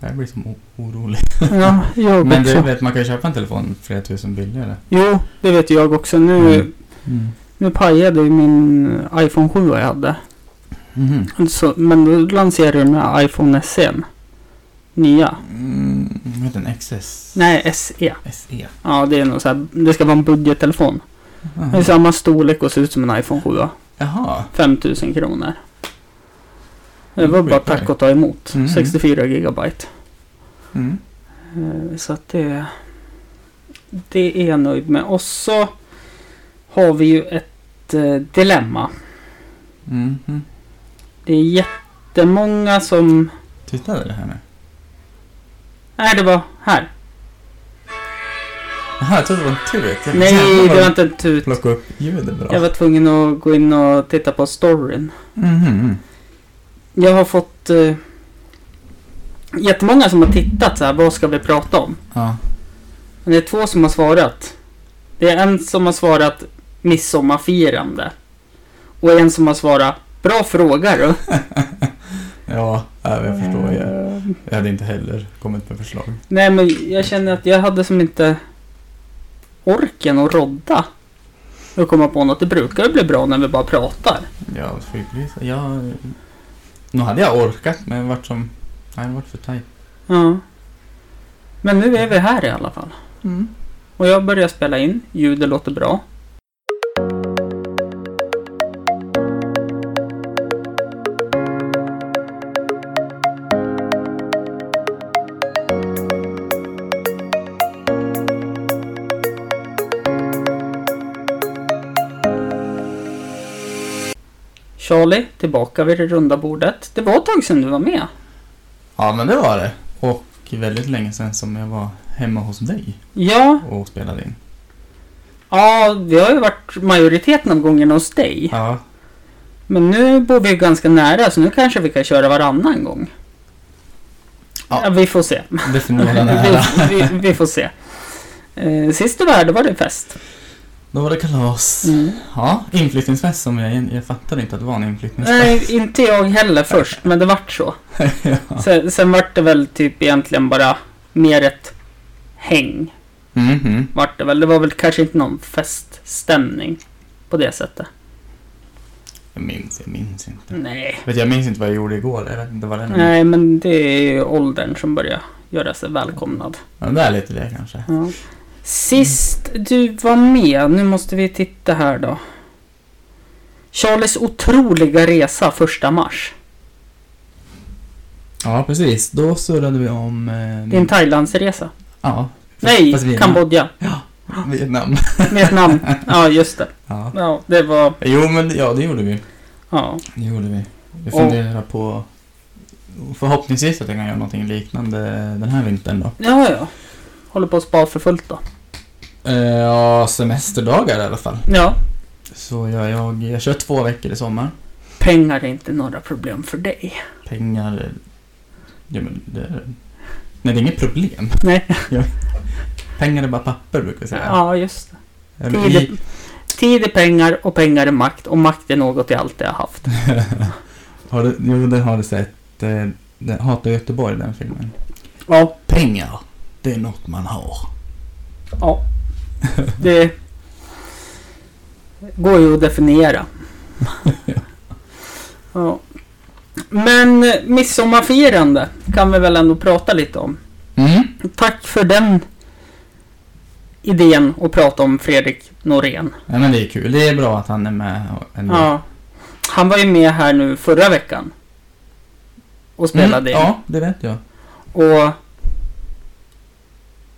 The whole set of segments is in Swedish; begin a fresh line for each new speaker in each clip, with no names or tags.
Jag blir som o- orolig.
Ja, jag
Men
också.
du vet, man kan ju köpa en telefon flera tusen billigare.
Jo, det vet jag också. Nu,
Mm. Mm.
nu pajade ju min iPhone 7 jag hade.
Mhm.
Alltså, men då lanserade de den här iPhone SE. Nya.
Mm. Vad heter den? XS?
Nej, SE.
SE?
Ja, det är nog så här, Det ska vara en budgettelefon. Det är
Jaha.
samma storlek och ser ut som en iPhone 7. ja.
Jaha.
5000 kronor. Det var
Mm,
bara
skitbilligt.
tack och ta emot.
Mm.
64 gigabyte.
Mm.
Eh, Så att det... Det är jag nöjd med. Och så har vi ju ett eh, dilemma.
Mm. Mm.
Det är jättemånga som...
Tittade det här nu?
Nej, det var här.
Jaha, jag trodde det var en tut. Jag-
Nej,
Jävlar
det
vad
var inte en tut.
Plocka upp ljudet bra.
Jag var tvungen att gå in och titta på storyn.
Mhm, mm.
Jag har fått eh, jättemånga som har tittat så här, vad ska vi prata om?
Ja.
Men det är två som har svarat. Det är en som har svarat midsommarfirande. Och en som har svarat bra fråga du.
Ja, äh, jag förstår. Jag,
Eh,
jag hade inte heller kommit med förslag.
Nej men jag känner att jag hade som inte orken att rodda. Och komma på något. Det brukar ju bli bra när vi bara pratar.
Ja, flygbelysa. Ja, eh, nu hade jag orkat, men vart som... Nej, det vart för tajt.
Ja. Men nu är vi här i alla fall. Och jag börjar spela in. Ljudet låter bra. Charlie, tillbaka vid det runda bordet. Det var ett tag sedan du var med.
Ja, men det var det. Och väldigt länge sedan som jag var hemma hos dig
Ja,
och spelade in.
ja vi har ju varit majoriteten av gångerna hos dig.
Ja,
Men nu bor vi ju ganska nära så nu kanske vi kan köra varannan gång.
Ja.
Ja, vi får se.
det är förmodligen
vi,
nära.
vi, vi får se. Eh, sist du var här, då var det fest.
Då var det kalas.
Mm.
Ja, inflyttningsfest som jag... Jag fattade inte att det var en inflyttningsfest.
Nej, inte jag heller först, men det vart så.
ja.
Sen, sen vart det väl typ egentligen bara mer ett häng.
Mhm.
Vart det väl. Det var väl kanske inte någon feststämning på det sättet.
Jag minns, jag minns inte.
Nej.
Vet, du, jag minns inte vad jag gjorde igår. Jag vet inte vad det är.
Mm. Nej, men det är ju åldern som börjar göra sig välkomnad.
Men det är lite det kanske.
Ja. Sist du var med, nu måste vi titta här då. Charles otroliga resa första mars.
Ja, precis. Då surrade vi om... Eh,
Din Thailandsresa.
Ja. Fast
Nej,
Vietnam-
Kambodja.
Vietnam.
Vietnam. Ja, just det.
Ja.
Ja, det var...
Jo, men ja, det gjorde vi.
Ja.
Det gjorde vi. Vi
Och-
funderar på... Förhoppningsvis att jag kan göra någonting liknande den här vintern då.
Ja, ja. Håller på att spa för fullt då.
Eh, Ja, semesterdagar i alla fall.
Ja.
Så jag, jag, jag kör två veckor i sommar.
Pengar är inte några problem för dig.
Pengar... eh, Ja, men det är... Nej, det är inget problem.
Nej.
Ja. Pengar är bara papper brukar jag säga.
Ja, just det.
Eller i-
Tid, tid är pengar och pengar är makt och makt är något jag alltid har haft.
har du, jo, den har du sett. Eh, Den, Hata Göteborg, den filmen.
Ja,
Pengar, det är något man har.
ja. Det går ju att definiera. Ja. Men eh, midsommarfirande kan vi väl ändå prata lite om.
Mm.
Tack för den idén att prata om Fredrik Norén.
Ja, men det är kul. Det är bra att han är med Mm. ändå.
Ja. Han var ju med här nu förra veckan. Och spelade in.
Mm, Ja, det vet jag.
Och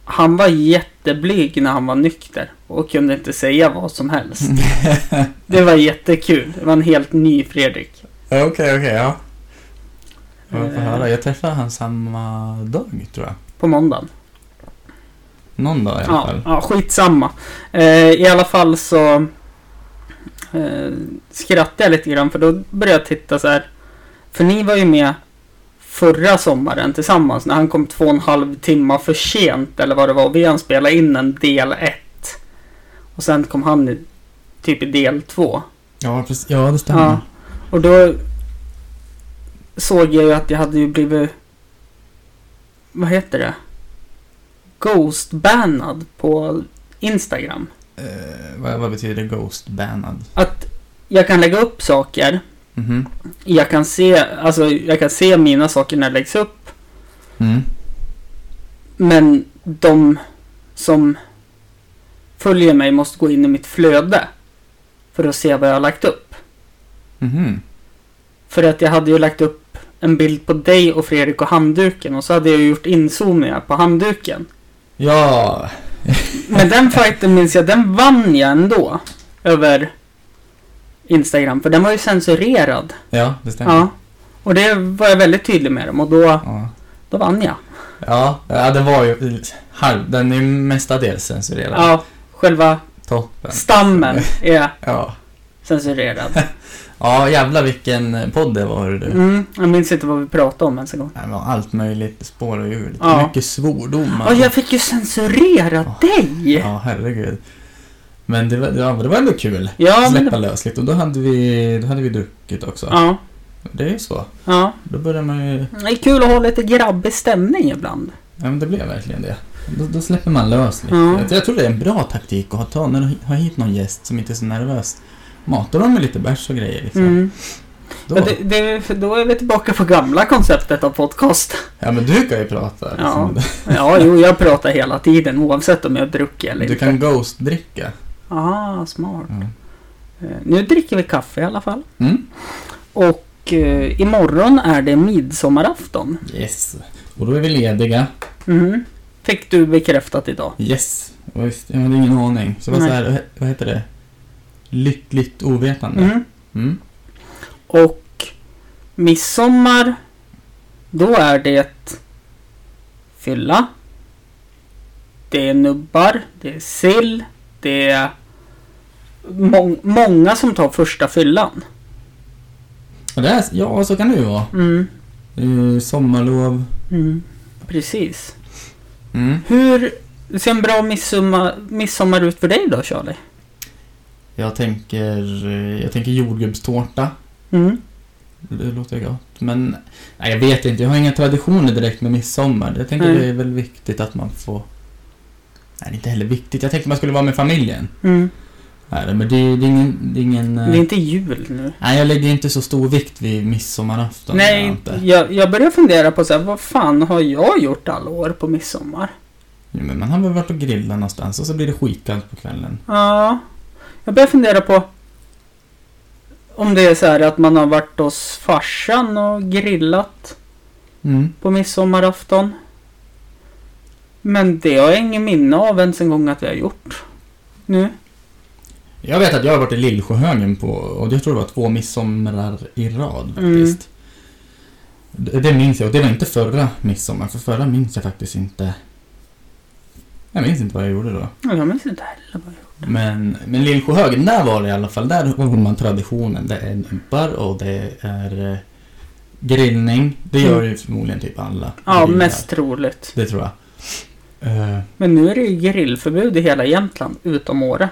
han var jätteblyg när han var nykter och kunde inte säga vad som helst. Det var jättekul. Det var en helt ny Fredrik.
Okej, okej, ja. Jag får
Eh.
höra. Jag träffade han samma dag, tror jag.
På måndagen.
Någon dag i alla
Ja,
fall.
ja, skitsamma. Eh, I alla fall så eh, skrattade jag lite grann för då började jag titta så här. För ni var ju med förra sommaren tillsammans när han kom två och en halv timme för sent eller vad det var. och Vi hann spela in en del ett. Och sen kom han i- typ i del två.
Ja, precis. Ja, det stämmer.
Ja. Och då såg jag ju att jag hade ju blivit vad heter det? Ghost-bannad på Instagram.
Eh, vad, vad betyder ghost bannad?
Att jag kan lägga upp saker.
Mhm.
Jag kan se, alltså jag kan se mina saker när det läggs upp.
Mm.
Men de som följer mig måste gå in i mitt flöde. För att se vad jag har lagt upp.
Mhm.
För att jag hade ju lagt upp en bild på dig och Fredrik och handduken. Och så hade jag ju gjort inzoomningar på handduken.
Ja.
Men den fighten minns jag, den vann jag ändå. Över Instagram. För den var ju censurerad.
Ja, det stämmer.
Ja. Och det var jag väldigt tydlig med dem. Och då,
Ja.
då vann jag.
Ja, ja den var ju halv... Den är ju mestadels censurerad.
Ja, själva
Toppen.
stammen är
Ja.
censurerad.
ja, jävlar vilken podd det var hörru du.
Mm, jag minns inte vad vi pratade om ens en gång.
Det var allt möjligt, spår och hjul.
Ja.
Mycket svordomar.
Ja, jag fick ju censurera
Ja.
dig!
Ja, herregud. Men det var, ja, men det var ändå kul.
Ja, men...
Släppa
det-
lös lite. Och då hade vi, då hade vi druckit också.
Ja,
Det är ju så.
ja.
Då börjar man ju...
Det är kul att ha lite grabbig stämning ibland.
Ja, men det blev verkligen det. Då, då släpper man lös lite.
Ja.
Jag tror det är en bra taktik att ha, ta, när du har hit någon gäst som inte är så nervös. Mata dem med lite bärs och grejer. Liksom.
Mm.
Då,
Men det, det, för då är vi tillbaka på gamla konceptet av podcast.
Ja, men du kan ju prata.
Ja.
Liksom.
Ja, jo, jag pratar hela tiden oavsett om jag dricker eller
Du
inte.
kan ghost-dricka.
Ah, smart.
Ja.
Eh, Nu dricker vi kaffe i alla fall.
Mm.
Och eh, imorgon är det midsommarafton.
Yes. Och då är vi lediga.
Mhm. Fick du bekräftat idag.
Yes. Och visst, jag hade ingen aning. Så vad, så
Nej.
här, vad heter det? Lyckligt ovetande.
Mhm.
Mm.
Och midsommar, då är det fylla. Det är nubbar, det är sill, det är mång- många som tar första fyllan.
Och det är, ja, så kan det ju vara.
Mm.
Eh, sommarlov.
Mm. Precis.
Mm.
Hur ser en bra midsommar, midsommar ut för dig då Charlie?
Jag tänker, eh, jag tänker jordgubbstårta.
Mm.
Det låter gott. Men nej, jag vet inte, jag har inga traditioner direkt med midsommar. Jag tänker
Nej.
det är väl viktigt att man får... Nej, det är inte heller viktigt. Jag tänkte man skulle vara med familjen.
Mm.
Nej, men det, det är ingen... Det är ingen eh,
Det är inte jul nu.
Nej, jag lägger inte så stor vikt vid midsommarafton. gör jag
Nej,
Inte.
jag, jag börjar fundera på så här, vad fan har jag gjort alla år på midsommar?
Jo, men man har väl varit och grillat någonstans och så blir det skitkallt på kvällen.
Ja, jag börjar fundera på om det är så här att man har varit hos farsan och grillat
Mm.
på midsommarafton. Men det har jag ingen minne av ens en gång att vi har gjort. Nu.
Jag vet att jag har varit i Lillsjöhögen på, och jag tror det var två midsommar i rad
Mm.
faktiskt. Det, det minns jag, och det var inte förra midsommar, för förra minns jag faktiskt inte. Jag minns inte vad jag gjorde då.
Ja, Jag minns inte heller vad jag gjort.
Men, men Lillsjöhögen, där var det i alla fall. Där har man traditionen. Det är numpar och det är eh, grillning. Det gör ju förmodligen typ alla.
Mm. Ja,
grillar.
mest troligt.
Det tror jag. Eh,
Men nu är det ju grillförbud i hela Jämtland, utom Åre.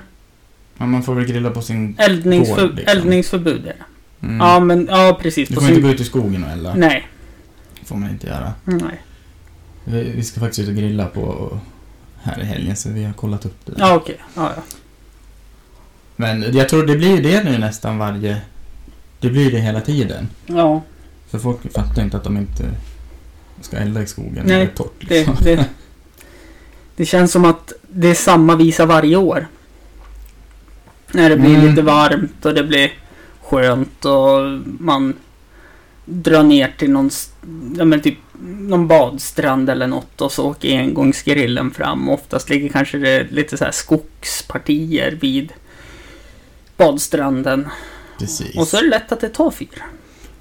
men man får väl grilla på sin...
Eldningsför-
Gård, liksom.
Eldningsförbud är det.
Mm.
Ja, men ja, precis.
du
På
får inte
sin...
gå ut i skogen och elda.
Nej,
får man inte göra.
nej.
Vi, vi ska faktiskt ut och grilla på här i helgen, så vi har kollat upp det där.
Ja, okej. Ja, ja.
Men jag tror det blir det nu nästan varje... Det blir det hela tiden.
ja
För folk fattar inte att de inte ska elda i skogen
Nej,
när det är torrt. Liksom.
det, det, det känns som att det är samma visa varje år. När det blir
Mm.
lite varmt och det blir skönt och man drar ner till någon, s- ja, men typ, någon badstrand eller något och så åker engångsgrillen fram. Oftast ligger kanske det lite så här skogspartier vid badstranden.
Precis.
Och så är det lätt att det tar fyra.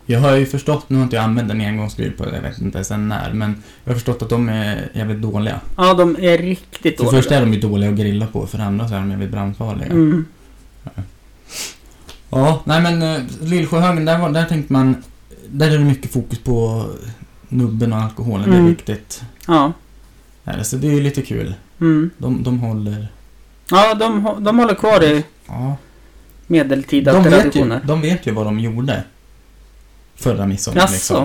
Jag har ju förstått, nu har inte jag använt en engångsgrill på jag vet inte sen när, men jag har förstått att de är jävligt dåliga.
Ja, de är riktigt
För det
dåliga.
första är de ju dåliga att grilla på, för det andra så är de jävligt brandfarliga.
Mm.
Ja, nej men eh, Lillsjöhögen, där, var, där tänkte man... Där är det mycket fokus på nubben och alkoholen, det
Mm.
är viktigt.
Ja.
Ja, så alltså, det är ju lite kul.
Mm.
De, de håller...
Ja, de, hå- de håller kvar i
Ja.
medeltida
De vet, ju,
traditioner.
de vet ju vad de gjorde. Förra midsommar
Jaså?
liksom.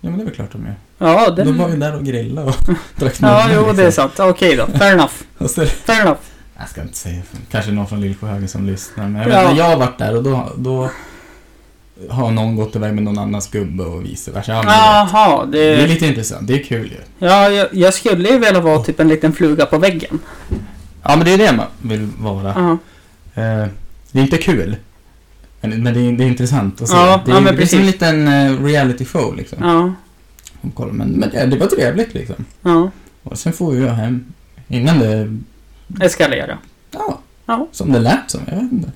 Ja, men det är väl klart de gör.
Ja, det...
De var ju där och grillade och drack
Ja,
nudlar,
jo,
liksom.
det är sant. Okej då. Fair enough.
Och så,
Fair enough.
jag ska inte säga, kanske någon från Lillsjöhögen som lyssnar. Men jag
Ja.
vet, när jag har varit där och då, då har någon gått iväg med någon annans gubbe och vice versa. Ja, men det-
Jaha,
det är
det...
lite intressant. Det är kul ju.
Ja, jag, jag skulle ju vilja vara typ en liten fluga på väggen.
Ja, men det är det man vill vara.
Ja,
Eh, det är inte kul. Men, men det, är, det är intressant att se.
Ja,
det
ja,
är,
men
det är som en
precis.
liten eh, reality show liksom.
ja,
Och kolla, Men, men ja, det var trevligt liksom.
ja.
Och sen får ju jag hem innan det...
Eskalera.
Ja.
Ja.
Som det lät som. Jag vet inte.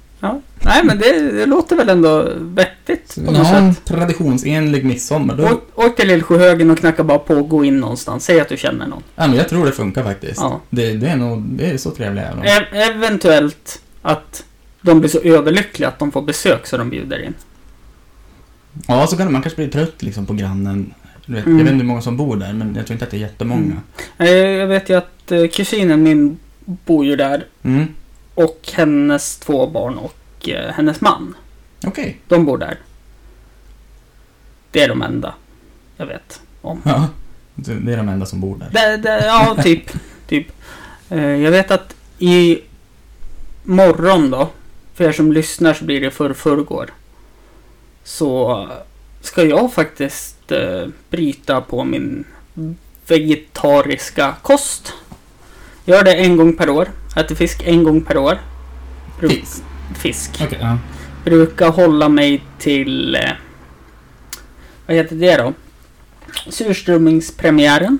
Nej, men det, det låter väl ändå vettigt
Så
på
vi
något
har en
sätt.
traditionsenlig midsommar. Då,
Åk, åk till Lillsjöhögen och knacka bara på och gå in någonstans. Säg att du känner någon.
ja, men jag tror det funkar faktiskt.
Ja.
Det, det är nog... Det är så trevligt även om.
E- eventuellt att de blir så överlyckliga att de får besök så de bjuder in.
Ja, så kan man kanske bli trött liksom på grannen. Du vet,
Mm.
Jag vet inte hur många som bor där, men jag tror inte att det är jättemånga.
Eh, Jag vet ju att eh, kusinen min bor ju där
Mm.
och hennes två barn och eh, hennes man.
Okej.
De bor där. Det är de enda jag vet.
Ja. Det det är de enda som bor där.
Det, det, ja, typ. typ. Eh, Jag vet att i morgon då, för er som lyssnar så blir det för förrgår. Så ska jag faktiskt eh, bryta på min vegetariska kost. Gör det en gång per år. Äter fisk en gång per år. Bru-
Fisk.
Fisk.
Okej, ja.
brukar hålla mig till... Eh, vad heter det då? Surströmmingspremiären.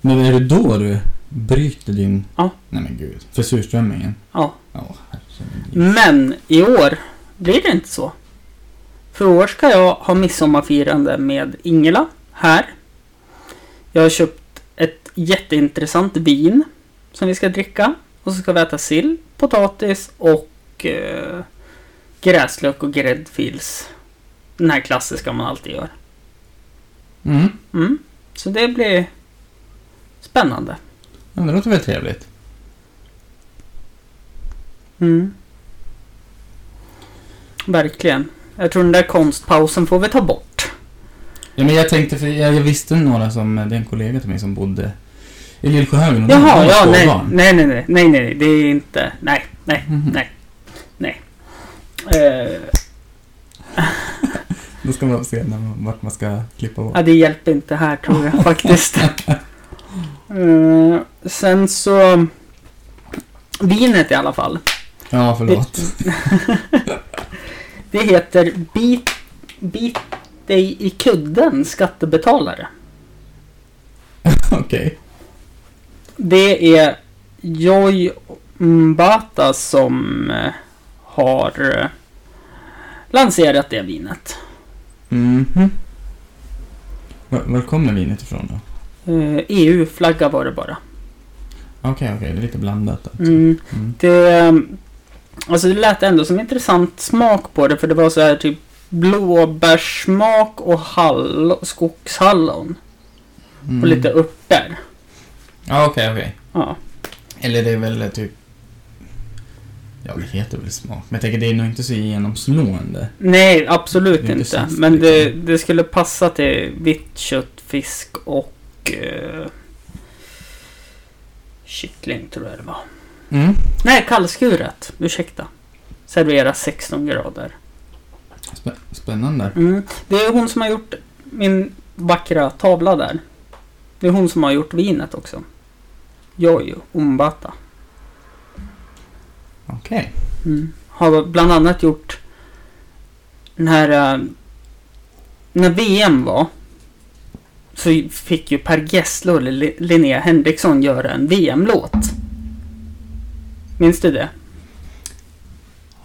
Men är det då du bryter din...
Ja.
Nej men gud. För surströmmingen?
Ja.
Ja, herregud.
Men i år blir det inte så. För i år ska jag ha midsommarfirande med Ingela här. Jag har köpt ett jätteintressant vin som vi ska dricka. Och så ska vi äta sill, potatis och eh, gräslök och gräddfils. Den här klassiska man alltid gör.
Mm.
Mm. Så det blir spännande.
Ja, det låter väl trevligt.
Mm. Verkligen. Jag tror den där konstpausen får vi ta bort.
Ja, men jag tänkte, för jag, jag visste några som... Det är en kollega till mig som bodde i Lillsjöhögen. och de- de
Jaha,
har
ja,
två
nej,
barn.
nej, nej, nej, nej, nej, det är inte, nej, nej,
Mhm.
nej, nej. Eh,
Då ska man se när man, vart man ska klippa bort.
ja, det hjälper inte här tror jag faktiskt. Eh, sen så, vinet i alla fall.
Ja, förlåt.
Det heter Bit, bit dig i kudden skattebetalare. Mm.
Okej.
Det är Joy Mbata som eh, har eh, lanserat det vinet.
Mhm. Var, var kommer vinet ifrån då?
Eh, EU-flagga var det bara.
Okej, okej. Det är lite blandat. Alltså.
Mm,
Mm.
det, eh, alltså det lät ändå som intressant smak på det för det var så här typ blåbärssmak och hall, skogshallon
Mm.
och lite örter.
Ja, okej, okej.
Ja.
Eller det är väl typ... Ja, det heter väl smak. Men jag tänker, det är nog inte så genomslående.
Nej, absolut
Det är
inte.
inte saft,
Men det,
liksom.
det skulle passa till vitt kött, fisk och eh, kyckling tror jag det var.
Mm.
Nej, kallskuret. Ursäkta. Serveras 16 grader.
Spä- spännande.
Mm. Det är hon som har gjort min vackra tavla där. Det är hon som har gjort vinet också. Jojo Umbata.
Okej.
Mm. Har bland annat gjort den här... eh, När VM var så fick ju Per Gessle och Li- Linnea Henriksson göra en VM-låt. Minns du det?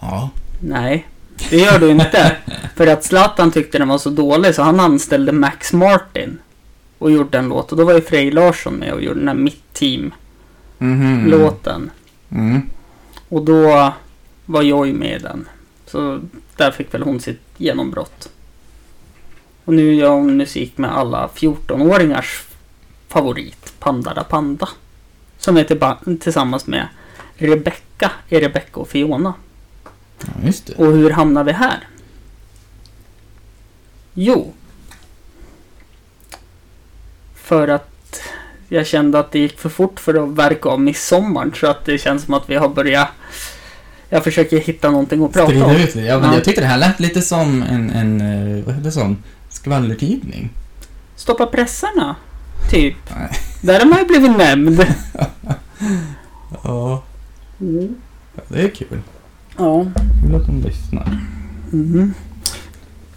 Ja.
Nej, det gör du inte. För att Zlatan tyckte den var så dålig så han anställde Max Martin och gjorde en låt. Och då var ju Frej Larsson med och gjorde den här Mitt
Mhm.
Team-låten.
Mm.
Och då var Joy med i den. Så där fick väl hon sitt genombrott. Och nu gör hon musik med alla 14-åringars favorit, Pandara Panda. Som är tillba- tillsammans med Rebecca i Rebecca och Fiona.
Ja, just det.
Och hur hamnar vi här? Jo, För att jag kände att det gick för fort för att verka av midsommar. Så att det känns som att vi har börjat... Jag försöker hitta någonting att prata om.
Sprida ut det. Ja, men
Ja.
Jag tyckte det här lät lite som en, en eh, vad heter det som? Skvallertidning.
Stoppa pressarna, typ.
Nej.
Där har man ju blivit nämnd.
Ja. Det är kul.
Ja.
Kul att de lyssnar.
Mm.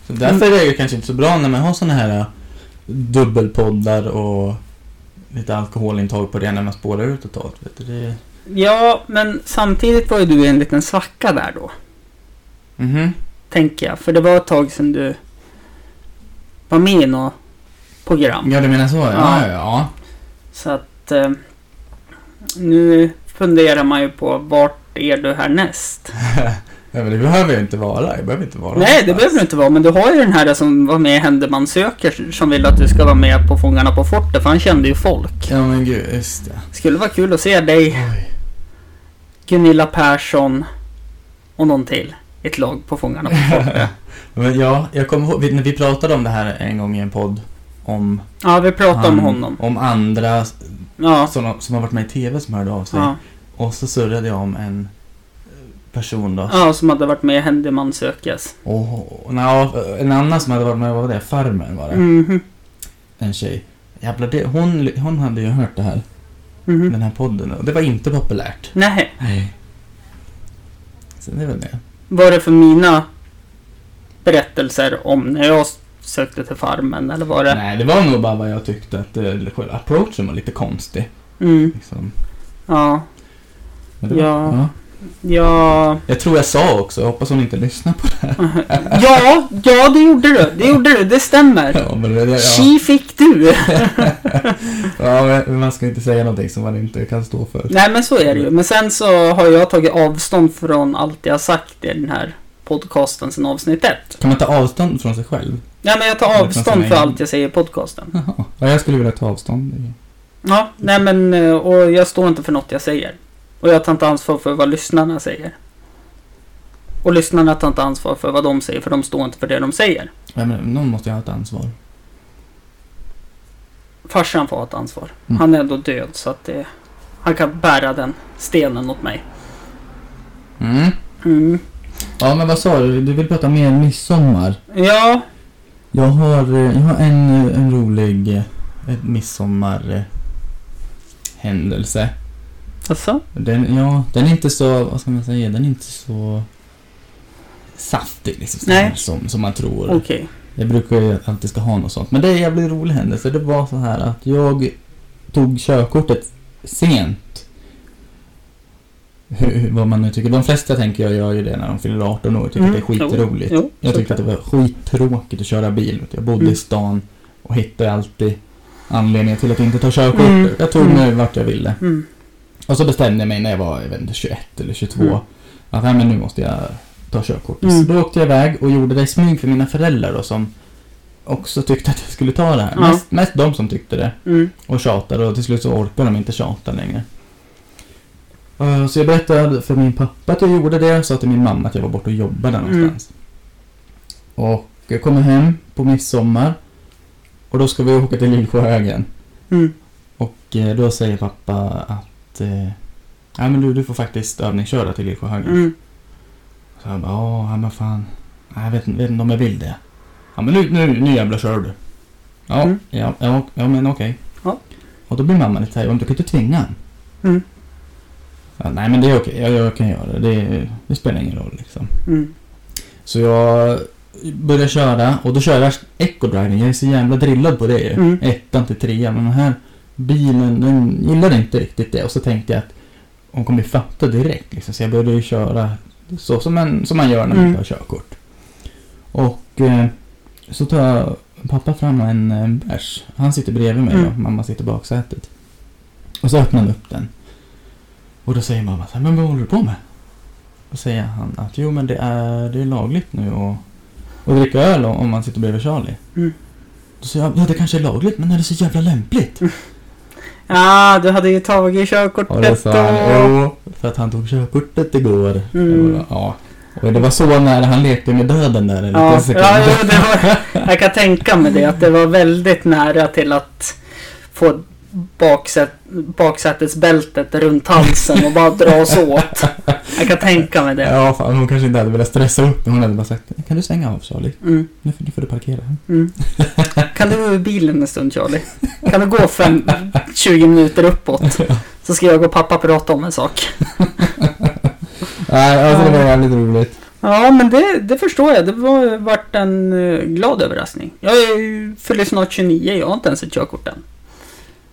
Så därför är det ju kanske inte så bra när man har såna här eh, dubbelpoddar och lite alkoholintag på det när man spårar ut totalt. Vet du? Det...
Ja, men samtidigt var ju du i en liten svacka där då.
Mhm.
Tänker jag. För det var ett tag sedan du var med i något program.
Ja, du menar så? Ja, ja,
Ja.
ja.
Så att eh, nu funderar man ju på vart är du härnäst?
ja men det behöver jag inte vara. Jag behöver inte vara
Nej, det
någonstans.
behöver du inte vara. Men du har ju den här som var med i Händeman söker som vill att du ska vara med på Fångarna på fortet. För han kände ju folk.
Ja, men gud. Just det.
Skulle vara kul att se dig,
Oj.
Gunilla Persson och någon till. i Ett lag på Fångarna på fortet.
Men ja, jag kommer ihåg, vi- när vi pratade om det här en gång i en podd. Om,
Ja, vi pratar om
an-
honom.
om andra
Ja.
som, som har varit med i TV som hörde av sig.
Ja.
Och så surrade jag om en eh, person då.
ja, som hade varit med i Händeman sökes.
Och, na, en annan som hade varit med, vad var det? Farmen var det.
Mhm.
En tjej. Jävlar, det, hon, hon hade ju hört det här.
Mhm.
Den här podden. Och det var inte populärt.
Nej,
Nej. Så det är väl det.
var det för mina berättelser om när jag sökte till Farmen eller var det?
Nej, det var nog bara vad jag tyckte att eh, själva approachen var lite konstig.
Mm.
Liksom.
Ja,
Men det var,
Ja. ja,
Jag tror jag sa också, jag hoppas hon inte lyssnar på
ja, ja, det gjorde du. Det gjorde du, det
det.
stämmer.
Ja, men, det- ja.
Tji fick du!
Ja, men man ska inte säga någonting som man inte kan stå för.
Nej, men så är det ju. Men sen så har jag tagit avstånd från allt jag har sagt i den här podcasten sedan avsnitt ett.
Kan man ta avstånd från sig själv?
Nej, men jag
Det
tar
fanns en
avstånd för
egen-
allt jag säger i podcasten.
Jaha. Ja, jag skulle vilja ta avstånd.
Ja, nej men eh, och jag står inte för något jag säger. Och jag tar inte ansvar för vad lyssnarna säger. Och lyssnarna tar inte ansvar för vad de säger, för de står inte för det de säger.
Ja, men någon måste ju ha ett ansvar.
Farsan får ha ett ansvar.
Mm.
Han är ändå död, så att det, han kan bära den stenen åt mig.
Mm.
Mm.
Ja, men vad sa du? Du vill prata mer midsommar?
Ja,
Jag har, eh, jag har en, eh, en rolig eh, ett midsommar eh, händelse.
alltså.
Den, ja, den är inte så, vad ska man säga, den är inte så saftig liksom, så
Nej.
här Som, som man tror.
Okej.
Jag brukar ju alltid ska ha något sånt. Men det är en jävligt rolig händelse. Det var så här att jag tog körkortet sent. Hur, hur- vad man nu tycker. De flesta tänker jag gör ju det när de fyller 18 år. Tycker
Mm.
det är skitroligt.
Jo,
Jag tyckte att det var skittråkigt att köra bil. Jag bodde
Mm.
i stan och hittade alltid anledningar till att inte ta körkort.
Mm.
Jag tog mig vart jag ville.
Mm.
Och så bestämde jag mig när jag var jag vet inte, 21 eller 22
Mm.
att nej, men nu måste jag ta körkort.
Mm.
Så då åkte jag iväg och gjorde det i smyg för mina föräldrar då, som också tyckte att jag skulle ta det här.
Ja.
Mest, mest de som tyckte det
Mm.
och tjatade och till slut så orkade de inte tjata längre. Eh, Så jag berättade för min pappa att jag gjorde det och sa till min mamma att jag var borta och jobbade
Mm.
någonstans. Och jag kommer hem på midsommar och då ska vi åka till Lillsjöhögen.
Mm.
Och eh, då säger pappa att eh, Nej men du, du får faktiskt övningsköra till Lillsjöhögen.
Mm.
Så jag bara, "Ja, ja men fan. Nej, jag vet, inte- vet inte om jag vill det. Ja men nu, nu, nu jävlar kör du. Ja,
Mm.
ja, ja, ja men okej.
Ja.
Och då blir mamma lite såhär, "Ja, men du kan ju inte tvinga honom.
Mm.
Ja, nej men det är okej, jag, jag kan göra det. det. Det spelar ingen roll liksom.
Mm.
Så jag börjar köra och då kör jag ecodriving. Jag är så jävla drillad på det ju.
Mm.
Ettan till trean. Men den här bilen, den gillade inte riktigt det. Och så tänkte jag att hon kommer ju fatta direkt. Liksom. Så jag började ju köra så som man, som man gör när man
Mm.
inte har körkort. Och eh, så tar jag pappa fram en eh, bärs. Han sitter bredvid mig
Mm.
och mamma sitter i baksätet. Och så öppnar han upp den. Och då säger mamma så här, men vad håller du på med? Då säger han att jo men det är, det är lagligt nu och, och dricka öl om om man sitter bredvid Charlie.
Mm.
Då säger jag, ja det kanske är lagligt men är det så jävla lämpligt?
Mm. Ja, du hade ju tagit körkortet
Och då sa han,
och...
jo, för att han tog körkortet igår.
Mm.
Jag bara, Ja. Och det var så nära han lekte med döden där en liten
Ja,
sekund.
ja, jo, det var, jag kan tänka mig det. Att det var väldigt nära till att få baksät, baksätesbältet runt halsen och bara dra oss åt. Jag kan tänka mig det.
Ja, fan, hon kanske inte hade velat stressa upp men Hon hade bara sagt Kan du svänga av Charlie?
Mm,
Nu får, nu får du parkera.
mm. Kan du gå ur bilen en stund Charlie? Kan du gå fem, 20 minuter uppåt? Så ska jag och pappa prata om en sak.
Nej,
alltså, det var
jävligt roligt.
Ja, men det, det förstår jag. Det var varit en eh, glad överraskning. Jag är ju- fyller snart 29, jag har inte ens ett körkort än.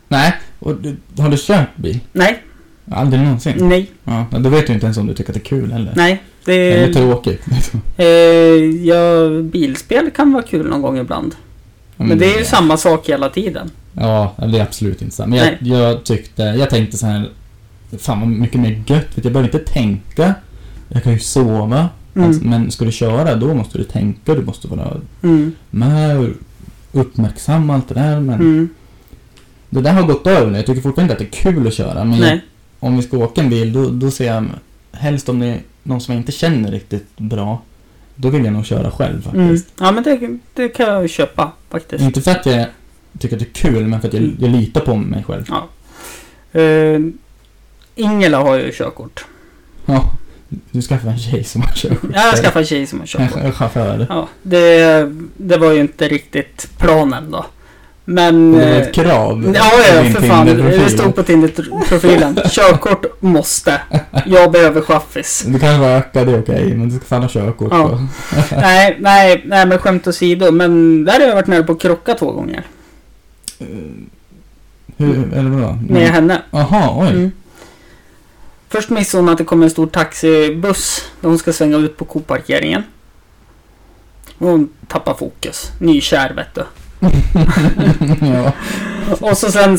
Nej, och du, har du kört bil?
Nej,
Aldrig någonsin?
nej,
Ja, men då vet du inte ens om du tycker att det är kul heller.
nej. Det,
Eller tråkigt. liksom.
eh, ja, bilspel kan vara kul någon gång ibland.
Mm.
Men det är ju samma sak hela tiden.
Ja, det är absolut inte sant. Men jag,
Nej.
jag tyckte, jag tänkte så här. Fan vad mycket mer gött. Vet, du, jag behöver inte tänka. Jag kan ju sova.
Mm.
Alltså, men ska du köra, då måste du tänka. Du måste vara
Mm,
med och uppmärksam och allt det där. Men
mm,
det där har gått över nu. Jag tycker fortfarande inte att det är kul att köra. Men jag,
nej.
om vi ska åka en bil, då, då ser jag helst om det är någon som jag inte känner riktigt bra. Då vill jag nog köra själv
Mm.
faktiskt.
Ja, men det, det kan jag ju köpa faktiskt.
Inte för att jag tycker att det är kul, men för att jag,
Mm.
jag litar på mig själv.
Ja. Eh, Ingela har ju körkort.
Ja, du skaffar en tjej som har körkort.
Jag skaffade en tjej som har körkort.
En chaufför.
Ja, det, det var ju inte riktigt planen då. Men...
Det var
eh,
ett krav.
Ja,
i
ja,
din
för fan.
Tinder-profil.
Det stod på Tinder-profilen. Körkort måste. Jag behöver chaffis.
Du kan röka, det är okej, men du ska fan ha körkort.
Ja.
då.
Nej, nej, nej, men skämt åsido. Men där har jag varit nära på att krocka två gånger.
Eh, Hur, eller vadå?
Med henne.
Jaha, Mm. oj.
Mm. Först missade hon att det kom en stor taxibuss där hon ska svänga ut på koparkeringen. Och hon tappar fokus. Nykär vet du. Mm.
ja.
Och så sen,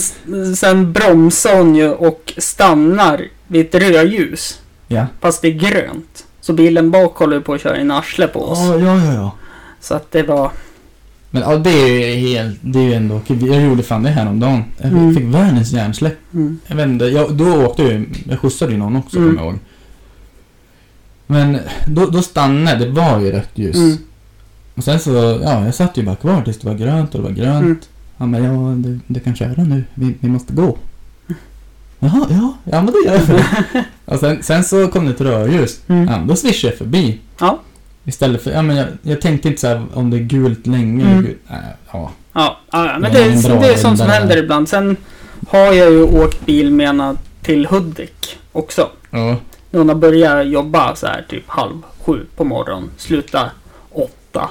sen bromsar hon ju och stannar vid ett rödljus.
Ja.
Fast det är grönt. Så bilen bak håller ju på att köra in arsle på oss.
Ja, ja, ja, ja.
Så att det var...
Men ja, det är ju helt, det är ju ändå okej. Jag gjorde fan det häromdagen. Jag
Mm.
fick världens hjärnsläpp.
Mm.
Jag vet inte, jag, då åkte jag ju, jag skjutsade ju någon också
Mm.
kommer jag ihåg. Men då, då stannade, det var ju rött ljus.
Mm.
Och sen så, ja, jag satt ju bara kvar tills det var grönt och det var grönt.
Mm.
Han bara, ja, du, du kan köra nu, vi, vi måste gå. Jaha, ja, ja men det gör vi. och sen, sen så kom det ett rödljus.
Mm.
Ja, då swishade jag förbi.
Ja.
Istället för, ja men jag, jag tänkte inte så här om det är gult länge.
Mm.
Gult, nej, ja.
Ja, ja, ja, men
Det
det,
var en bra
är- det är sånt som
runda
händer
där.
ibland. Sen har jag ju åkt bil med henne till Hudik också.
ja.
När hon har börjat jobba så här typ halv sju på morgonen. Sluta åtta.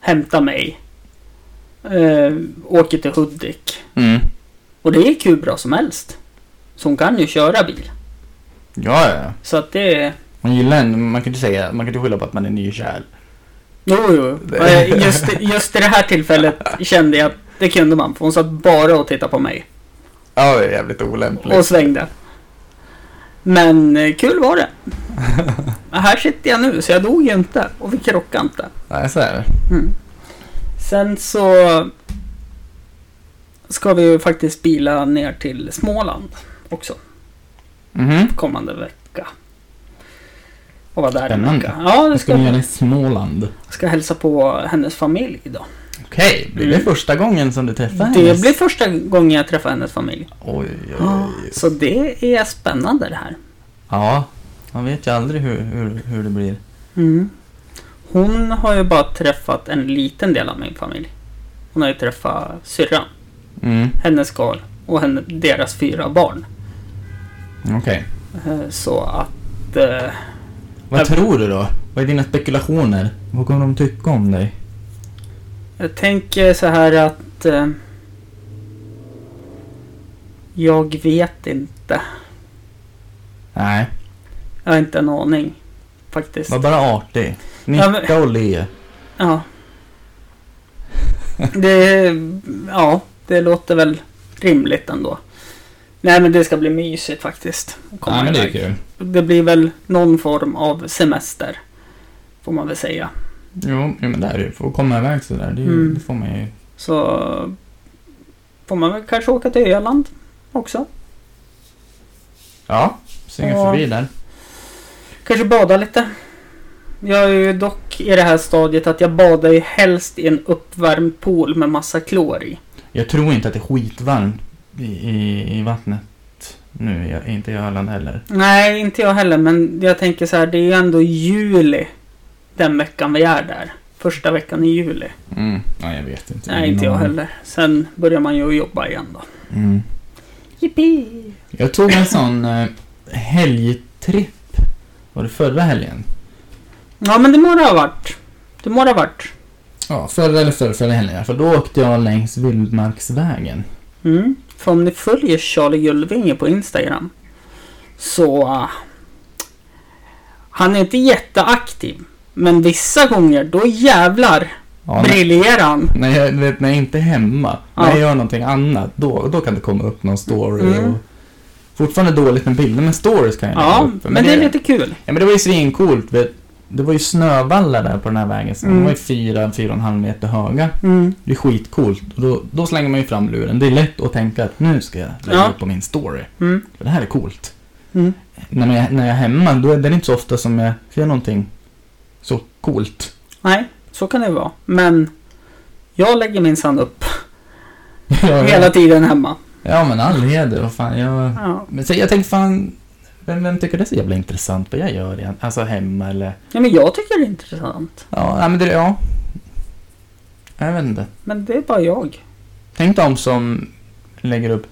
Hämta mig. Eh, åker till Hudik.
Mm.
Och det gick hur bra som helst. Så hon kan ju köra bil.
Ja, ja, ja.
Så att det...
Man gillar en, man kan inte säga, man kan inte skylla på att man är nykär.
Jo, jo. Eh, Just, just i det här tillfället kände jag att det kunde man. För hon satt bara och tittade på mig.
Ja, det är jävligt olämpligt.
Och svängde. Men eh, kul var det. Men här sitter jag nu, så jag dog ju inte. Och vi krockade inte.
Nej, så är det.
Mm. Sen så ska vi ju faktiskt bila ner till Småland också
Mhm.
kommande vecka. Och vara där en
Spännande.
vecka. Ja, det
Vad ska
ska
ni göra
vi.
i Småland?
Ska hälsa på hennes familj idag.
Okej, blir det
Mm.
första gången som du träffar
Det blir första gången jag träffar hennes familj.
Oj, oj, oj.
Så det är spännande det här.
Ja, man vet ju aldrig hur, hur, hur det blir.
Mm. Hon har ju bara träffat en liten del av min familj. Hon har ju träffat syrran,
Mm,
hennes karl och henne, deras fyra barn.
okej.
Eh, Så att... Eh,
Vad
Jag-
tror du då? Vad är dina spekulationer? Vad kommer de tycka om dig?
jag tänker så här att... Eh, jag vet inte.
Nej,
Jag har inte en aning. Faktiskt.
var bara artig.
Ja, men-
Nicka och le.
Ja. Det... Ja, det låter väl rimligt ändå. Nej men det ska bli mysigt faktiskt. att komma iväg.
kul.
det blir väl någon form av semester. Får man väl säga.
Jo, jo, men det är det ju. Får komma iväg sådär, det, är ju-
Mm.
det får man ju.
Så får man väl kanske åka till Öland också.
Ja, svinga
Ja.
förbi där.
Kanske bada lite. Jag är ju dock i det här stadiet att jag badar ju helst i en uppvärmd pool med massa klor i.
Jag tror inte att det är skitvarmt i, i, i vattnet nu, jag, inte i Öland heller.
Nej, inte jag heller. Men jag tänker så här, det är ju ändå juli. Den veckan vi är där. Första veckan i juli.
Mm. Ja, jag vet inte.
Nej, inte jag
Någon-
heller. Sen börjar man ju jobba igen då.
Mm.
Yippee!
Jag tog en sån eh, helgtripp. Var det förra helgen?
Ja, men det må det ha varit. Det må det ha varit.
Ja, förra eller förra, förra helgen. För då åkte jag längs vildmarksvägen.
Mm. För om ni följer Charlie Gullvinge på Instagram så... ah, han är inte jätteaktiv. Men vissa gånger, då jävlar
Ja, när,
briljerar han.
när, jag, du vet, när jag inte är hemma,
Ja.
när jag gör någonting annat, då, då kan det komma upp någon story.
Mm.
Och, fortfarande dåligt med bilder, men stories kan jag lägga
Ja,
upp.
men det är lite kul.
Ja, men det var ju svincoolt. vet- Det var ju snövallar där på den här vägen. Så
Mm.
De var ju fyra, fyra och en halv meter höga.
Mm.
Det är skitcoolt. Och då, då slänger man ju fram luren. Det är lätt att tänka att nu ska jag lägga
Ja.
upp på min story.
Mm.
För det här är coolt.
Mm.
När jag, när jag är hemma, då är det inte så ofta som jag ser någonting så coolt.
Nej, så kan det vara. Men jag lägger minsann upp
Jag-
hela tiden hemma.
Ja, men all heder. Vad fan, jag...
Ja.
Men så jag tänker fan, vem, vem tycker det är så jävla intressant vad jag gör igen? Alltså hemma eller...
Ja, men jag tycker det är intressant.
Ja, nej, men det... Ja. Jag vet inte.
Men det är bara jag.
Tänk de som lägger upp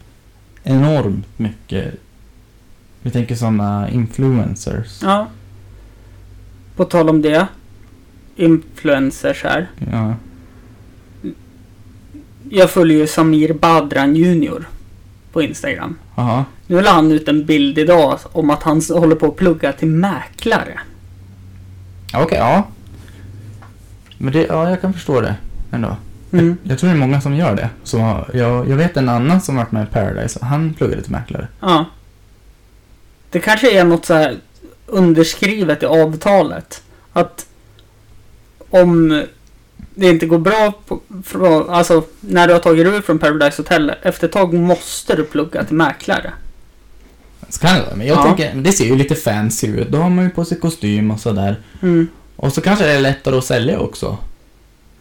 enormt mycket. Vi tänker sådana influencers.
Ja. På tal om det. Influencers här.
Ja.
Jag följer ju Samir Badran Junior på Instagram.
Jaha.
Nu la han ut en bild idag om att han håller på att plugga till mäklare.
Ja, Okej, ja. Men det, ja, jag kan förstå det ändå.
Mm.
Jag tror det är många som gör det. Som har, jag, jag vet en annan som varit med i Paradise. Han pluggade till mäklare.
Ja. Det kanske är något så här underskrivet i avtalet. Att om det inte går bra, på, från, alltså när du har tagit dig ur från Paradise Hotel, efter ett tag måste du plugga till mäklare.
Så kan det vara. Men jag
Ja.
tänker, men det ser ju lite fancy ut. Då har man ju på sig kostym och sådär.
Mm.
Och så kanske det är lättare att sälja också.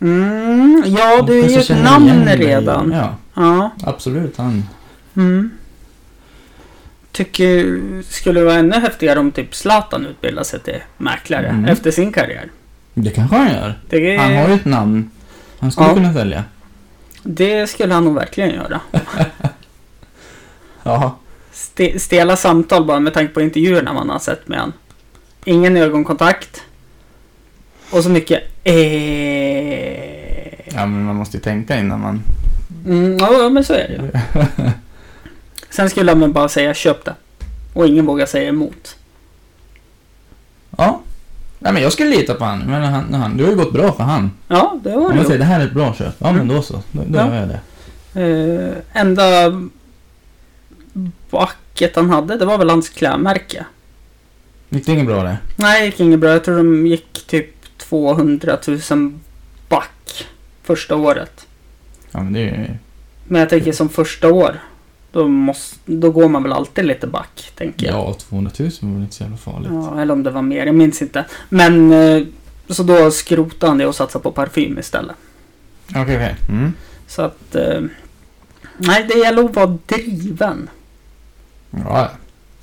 Mm, ja,
De
du är ju
kanske
ett
känner
namn
igen dig.
redan.
Ja,
Ja.
absolut. Han.
Mm. Tycker skulle det vara ännu häftigare om typ Zlatan utbildade sig till mäklare
Mm.
efter sin karriär.
Det kanske han gör.
Det,
Han har ju ett namn. Han skulle
Ja.
kunna sälja.
det skulle han nog verkligen göra.
Ja.
Ste stela samtal bara med tanke på intervjuerna man har sett med han. Ingen ögonkontakt. Och så mycket eh.
ja, men man måste ju tänka innan man...
Mm, ja, ja, men så är det ju. Sen skulle han väl bara säga köp det. Och ingen vågar säga emot.
Ja. Nej, men jag skulle lita på han. Men han, han, det har ju gått bra för han.
Ja, det var
Om
det
man
ju.
säger det här är ett bra köp, ja men då så. Då, då
Ja.
gör jag det.
Eh, enda bucket han hade, det var väl hans klädmärke.
Gick det inget bra det?
Nej, det gick inget bra. Jag tror de gick typ 200 000 back första året.
Ja, men det är ju...
Men jag tänker som första år. Då, måste, då går man väl alltid lite back, tänker jag.
Ja, 200 000 var väl inte så jävla farligt.
Ja, eller om det var mer, jag minns inte. Men eh, så då skrotade han det och satsade på parfym istället.
Okej, okej. Mm.
Så att... Eh, nej, det gäller att vara driven.
Ja,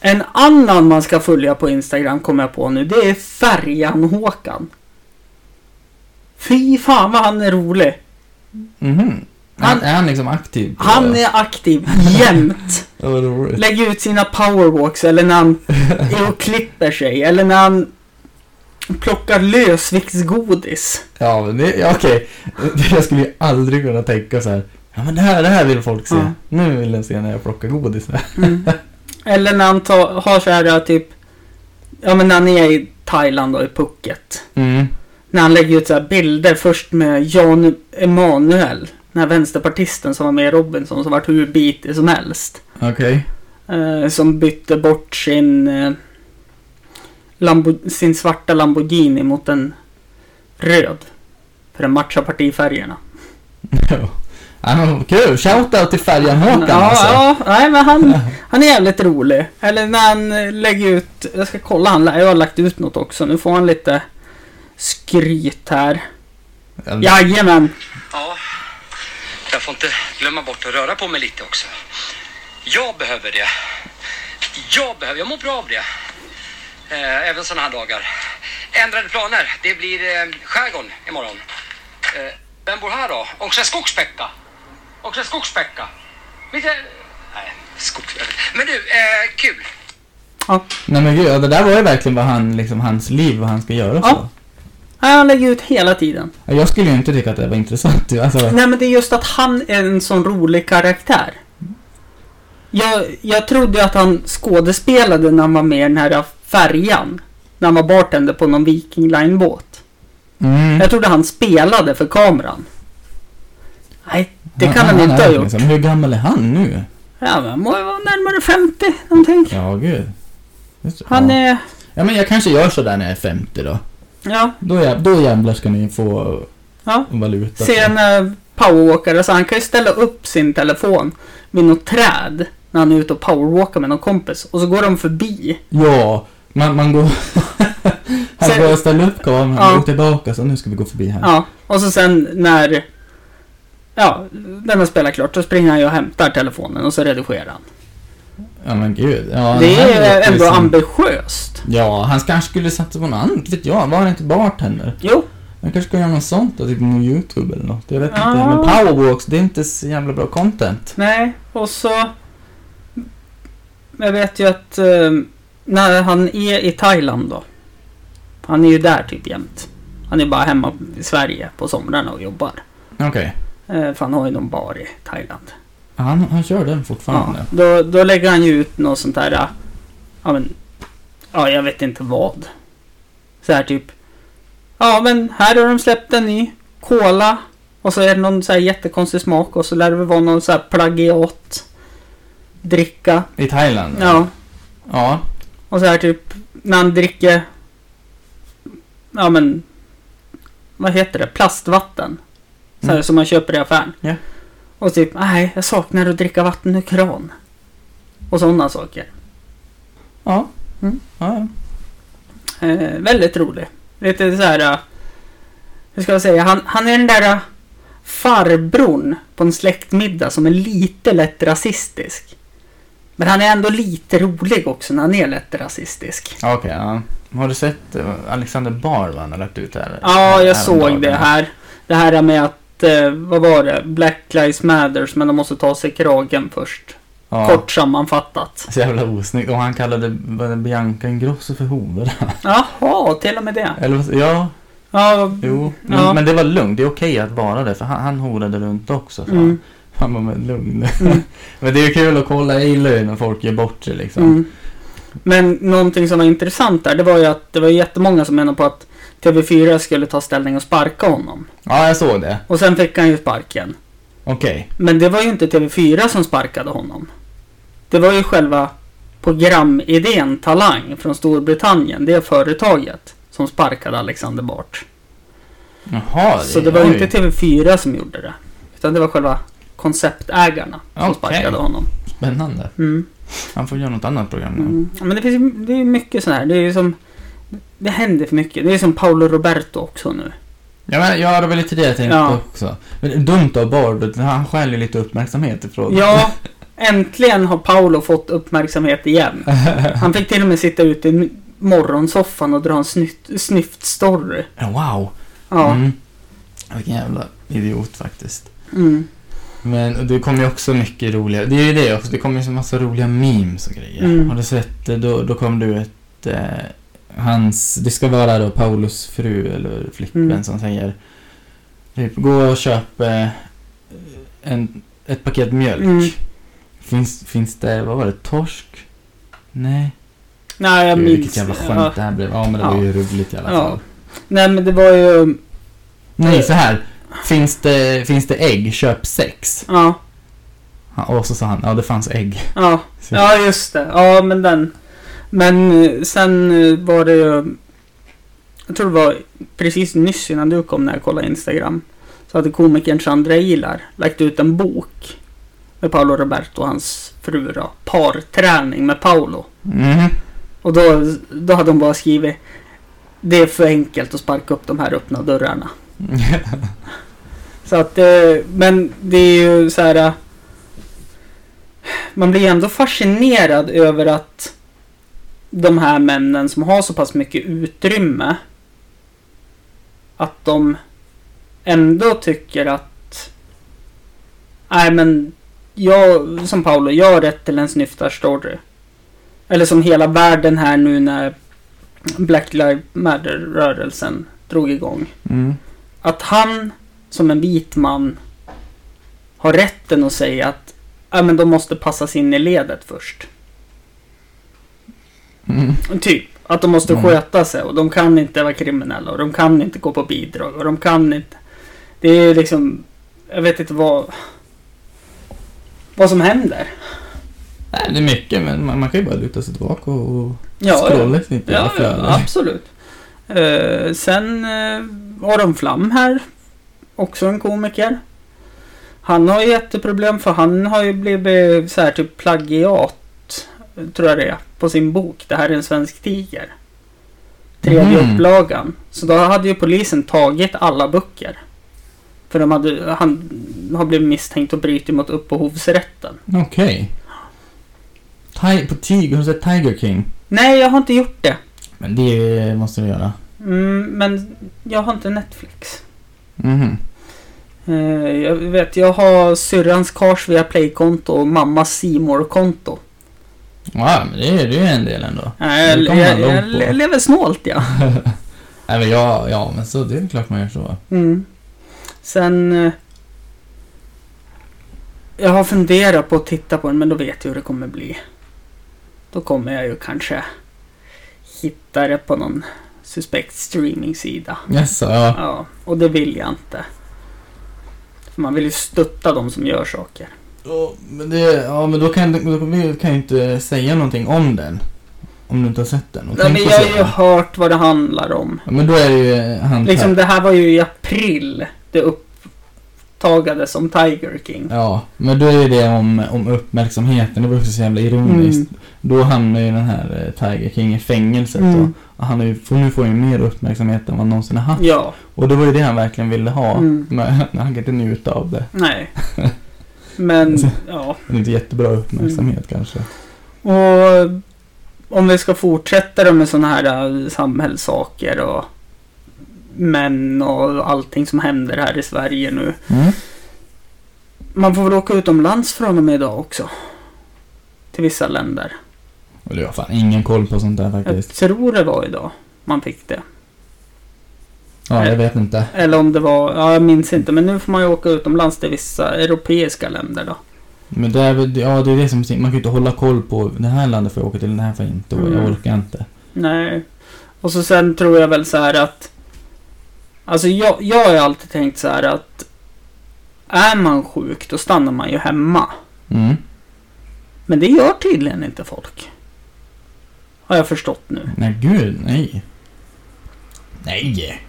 En annan man ska följa på Instagram kommer jag på nu. Det är Färjan-Håkan. Fy fan vad han är rolig.
mhm.
Han-
Han, är han liksom aktiv? på-
Han är aktiv jämt.
Ja, vad roligt.
Lägger ut sina powerwalks eller när han är och klipper sig. Eller när han plockar lösviktsgodis.
Ja, men det, ja, okej. Jag skulle ju aldrig kunna tänka så här. Ja, men det här, det här vill folk se.
Ja.
Nu vill den se när jag plockar godis.
Mm. Eller när han tar, har så här typ... Ja men när han är i Thailand och i Phuket.
Mm.
När han lägger ut så här bilder först med Jan Emanuel. Den här vänsterpartisten som var med i Robinson som vart hur bitig som helst.
Okej.
Eh, som bytte bort sin, eh, Lambo- sin svarta Lamborghini mot en röd. För den matchar partifärgerna.
Ja, men vad kul! Shoutout till färjan Håkan
ja,
alltså.
ja, nej men han, han är jävligt rolig. Eller när han eh, lägger ut, jag ska kolla, han, jag har lagt ut något också. Nu får han lite skryt här.
Ja.
Jajamän!
Ja. Jag får inte glömma bort att röra på mig lite också. Jag behöver det. Jag behöver, jag mår bra av det. Eh, även sådana här dagar. Ändrade planer. Det blir eh, skärgården imorgon. Eh, vem bor här då? Också skogspäcka. Också skogspäcka. Lite... Nej, skogs... Men du, eh, kul.
Ja.
Nej men gud, ja, det där var ju verkligen vad han, liksom, hans liv, vad han ska göra och
Ja.
så.
Han lägger ut hela tiden.
Ja, Jag skulle ju inte tycka att det var intressant. ju, Alltså,
Nej men det är just att han är en sån rolig karaktär. Jag, jag trodde ju att han skådespelade när han var med i den här färjan. När han var bartender på någon Viking Line-båt.
mm.
Jag trodde han spelade för kameran. Nej, det kan han inte
är
ha gjort.
liksom- Hur gammal är han nu?
Ja, men han må ju vara närmare 50 någonting.
Ja, gud. Just-
Han
ja.
är...
ja, men jag kanske gör sådär när jag är 50 då.
Ja,
Då, jä- då jävlar ska ni få
ja.
valuta.
Ser en eh, powerwalkare, så han kan ju ställa upp sin telefon vid något träd när han är ute och powerwalkar med någon kompis. Och så går de förbi.
Ja, man, man går... han
Sen-
går och ställer upp kameran,
Ja.
går tillbaka, så nu ska vi gå förbi här.
Ja, och så sen när... Ja, när man spelar klart så springer han ju och hämtar telefonen och så redigerar han.
Ja, men gud. Ja,
det
den här
är
låter ju liksom-
ändå
som-
ambitiöst.
Ja, han kanske skulle satsa på något annat, vet jag. Var han inte bartender?
Jo,
Han kanske skulle göra något sånt, då, typ på YouTube eller något. Jag vet
Ja.
inte. Men powerwalks, det är inte så jävla bra content.
nej, och så... Jag vet ju att eh, när han är i Thailand då. Han är ju där typ jämt. Han är bara hemma i Sverige på somrarna och jobbar.
Okej.
Eh, för han har ju någon bar i Thailand.
Han, han kör den
Ja,
fortfarande.
då, då lägger han ju ut något sånt här... äh, Ja, men, ja jag vet inte vad. Så här typ. Ja, men här har de släppt en ny cola. Och så är det någon så här jättekonstig smak och så lär det väl vara någon så här plagiat dricka.
I Thailand?
Ja,
Ja.
och så här typ när han dricker... Ja, men... Vad heter det? Plastvatten. Så här
Mm.
som man köper i affären.
Ja.
Och typ, nej, jag saknar att dricka vatten ur kran. Och sådana saker.
Ja.
Mm.
ja. ja.
Eh, väldigt rolig. Lite så här. eh, hur ska jag säga? Han, han är den där eh, farbrorn på en släktmiddag som är lite lätt rasistisk. Men han är ändå lite rolig också när han är lätt rasistisk.
Ja, Okej, ja. Har du sett eh, Alexander Bard vad han har lagt ut här?
Ja, jag
Här om
såg
dagen?
det här. Det här med att, eh, vad var det? Black Lives Matters, men de måste ta sig kragen först.
Ja.
Kort sammanfattat.
Så jävla osnyggt. Och han kallade B- Bianca Ingrosso för hora.
Jaha, till och med det.
Eller vad- ja,
Ja,
jo. Men,
Mm. Ja.
men det var lugnt. Det är okej att vara det. För han, han horade runt också. Så
Mm.
Han var men lugn.
Mm.
men det är ju kul att kolla. Jag gillar ju när folk gör bort sig liksom.
Mm. Men någonting som var intressant där, det var ju att det var jättemånga som menade på att TV4 skulle ta ställning och sparka honom.
Ja, jag såg det.
Och sen fick han ju sparken.
Okej.
Men det var ju inte TV4 som sparkade honom. Det var ju själva programidén Talang från Storbritannien, det företaget, som sparkade Alexander Bart.
Jaha.
Så det var
oj.
ju inte TV4 som gjorde det. Utan det var själva konceptägarna som
Okej.
sparkade honom.
Spännande.
Mm.
Han får göra något annat program nu.
Mm. Ja, Men det finns ju, det är ju mycket sådär. Det är ju som... Det händer för mycket. Det är som Paolo Roberto också nu.
Ja, men, ja, det var lite det jag tänkte
Ja.
också. Men det är dumt av Bard, han stjäl ju lite uppmärksamhet ifrån...
Ja, äntligen har Paolo fått uppmärksamhet igen. Han fick till och med sitta ute i morgonsoffan och dra en snyft, snyftstory.
Wow!
Ja. Mm.
Mm. Vilken jävla idiot faktiskt.
Mm.
Men det kommer ju också mycket roliga, det är ju det också, det kommer ju så massa roliga memes och grejer.
Mm.
Har du sett, det? då, då kom du ett, eh, hans, det ska vara då Paulus fru eller flickvän
Mm.
som säger typ, gå och köp eh, en, ett paket mjölk.
Mm.
Finns, finns det, vad var det, torsk? Nej.
Nej, jag
Gud,
minns.
Vilket jävla skämt
Ja.
det här blev. Ja, men det var
Ja.
ju roligt i alla
Ja.
fall.
Nej, men det var ju...
Nej, så här. Finns det, finns det ägg, köp sex.
Ja,
Ja, Och så sa han, ja det fanns ägg.
ja.
Så,
Ja, just det. Ja, men den. Men eh, sen eh, var det ju... Jag tror det var precis nyss innan du kom när jag kollade Instagram. Så hade komikern Sandra Ilar lagt ut en bok. Med Paolo Roberto och hans fru då. Parträning med Paolo.
Mhm.
Och då, då hade de bara skrivit.
Mm.
Det är för enkelt att sparka upp de här öppna dörrarna. Så Så att, eh, men det är ju så här. eh, Man blir ändå fascinerad över att de här männen som har så pass mycket utrymme. Att de ändå tycker att. Nej men. Jag, som Paolo, jag har rätt till en snyftarstory. Eller som hela världen här nu när Black Lives Matter-rörelsen drog igång
Mm.
att han som en vit man har rätten att säga att ja, men de måste passas in i ledet först.
Mm.
Typ. Att de måste
Mm.
sköta sig och de kan inte vara kriminella och de kan inte gå på bidrag och de kan inte... Det är ju liksom... Jag vet inte vad... Vad som händer.
Nej, det är mycket, men man, man kan ju bara luta sig tillbaka och
Ja,
scrolla sitt jävla
ja,
flöde.
ja absolut. Eh, sen eh, Aron Flam här. Också en komiker. Han har ju jätteproblem för han har ju blivit så här typ plagiat. Tror jag det är. På sin bok. Det här är en svensk tiger. Tredje
Mm.
upplagan. Så då hade ju polisen tagit alla böcker. För de hade, han har blivit misstänkt och brutit mot upphovsrätten.
Okej. Ti- På Tiger, har du sett Tiger King?
Nej, jag har inte gjort det.
Men det måste du göra.
Mm, men jag har inte Netflix.
Mhm.
Eh, Jag vet, jag har syrrans Kars via Play-konto och mammas simor konto
Ja, men det är det är ju en del ändå.
Jag,
Det kommer
Eh, jag,
man
jag
långt på.
le- lever snålt, ja.
Nej, men ja, ja, men så det är klart man gör så.
Mm. Sen... eh, Jag har funderat på att titta på den, men då vet jag hur det kommer bli. Då kommer jag ju kanske hitta det på någon suspekt streaming-sida.
Yes, ja.
Ja, och det vill jag inte. För man vill ju stötta de som gör saker.
Ja, men, det, ja, men då kan, då kan jag inte säga någonting om den. Om du inte har sett den. Och
Nej,
tänk
men
på
jag har
så.
ju hört vad det handlar om.
ja, men då är det ju han
Liksom det här var ju i april det upptagades som Tiger King.
Ja, men då är det om, om uppmärksamheten. Det var också så jävla ironiskt. Då hamnar ju den här eh, Tiger King i fängelset.
Mm.
Och han är ju, får, nu får han ju mer uppmärksamhet än vad han någonsin har haft.
Ja,
Och det var ju det han verkligen ville ha.
Mm.
Men han kan inte njuta av det.
nej. Men ja,
Det är inte jättebra uppmärksamhet
Mm.
kanske.
och om vi ska fortsätta då med sådana här äh, samhällssaker och män och allting som händer här i Sverige nu.
Mm.
Man får väl åka utomlands från och med idag också. Till vissa länder.
Och du har fan ingen koll på sånt där
Jag
faktiskt.
tror det var idag man fick det.
Ja, jag vet inte.
Eller om det var, ja, jag minns inte. Men nu får man ju åka utomlands till vissa europeiska länder då.
Men det är väl, ja det är det som, man kan ju inte hålla koll på, det här landet får jag åka till, det här får jag inte, och jag
Mm.
orkar inte.
Nej. Och så sen tror jag väl så här att... Alltså jag, jag har ju alltid tänkt så här att... Är man sjuk då stannar man ju hemma.
Mm.
Men det gör tydligen inte folk. Har jag förstått nu.
Nej, gud, nej. Nej!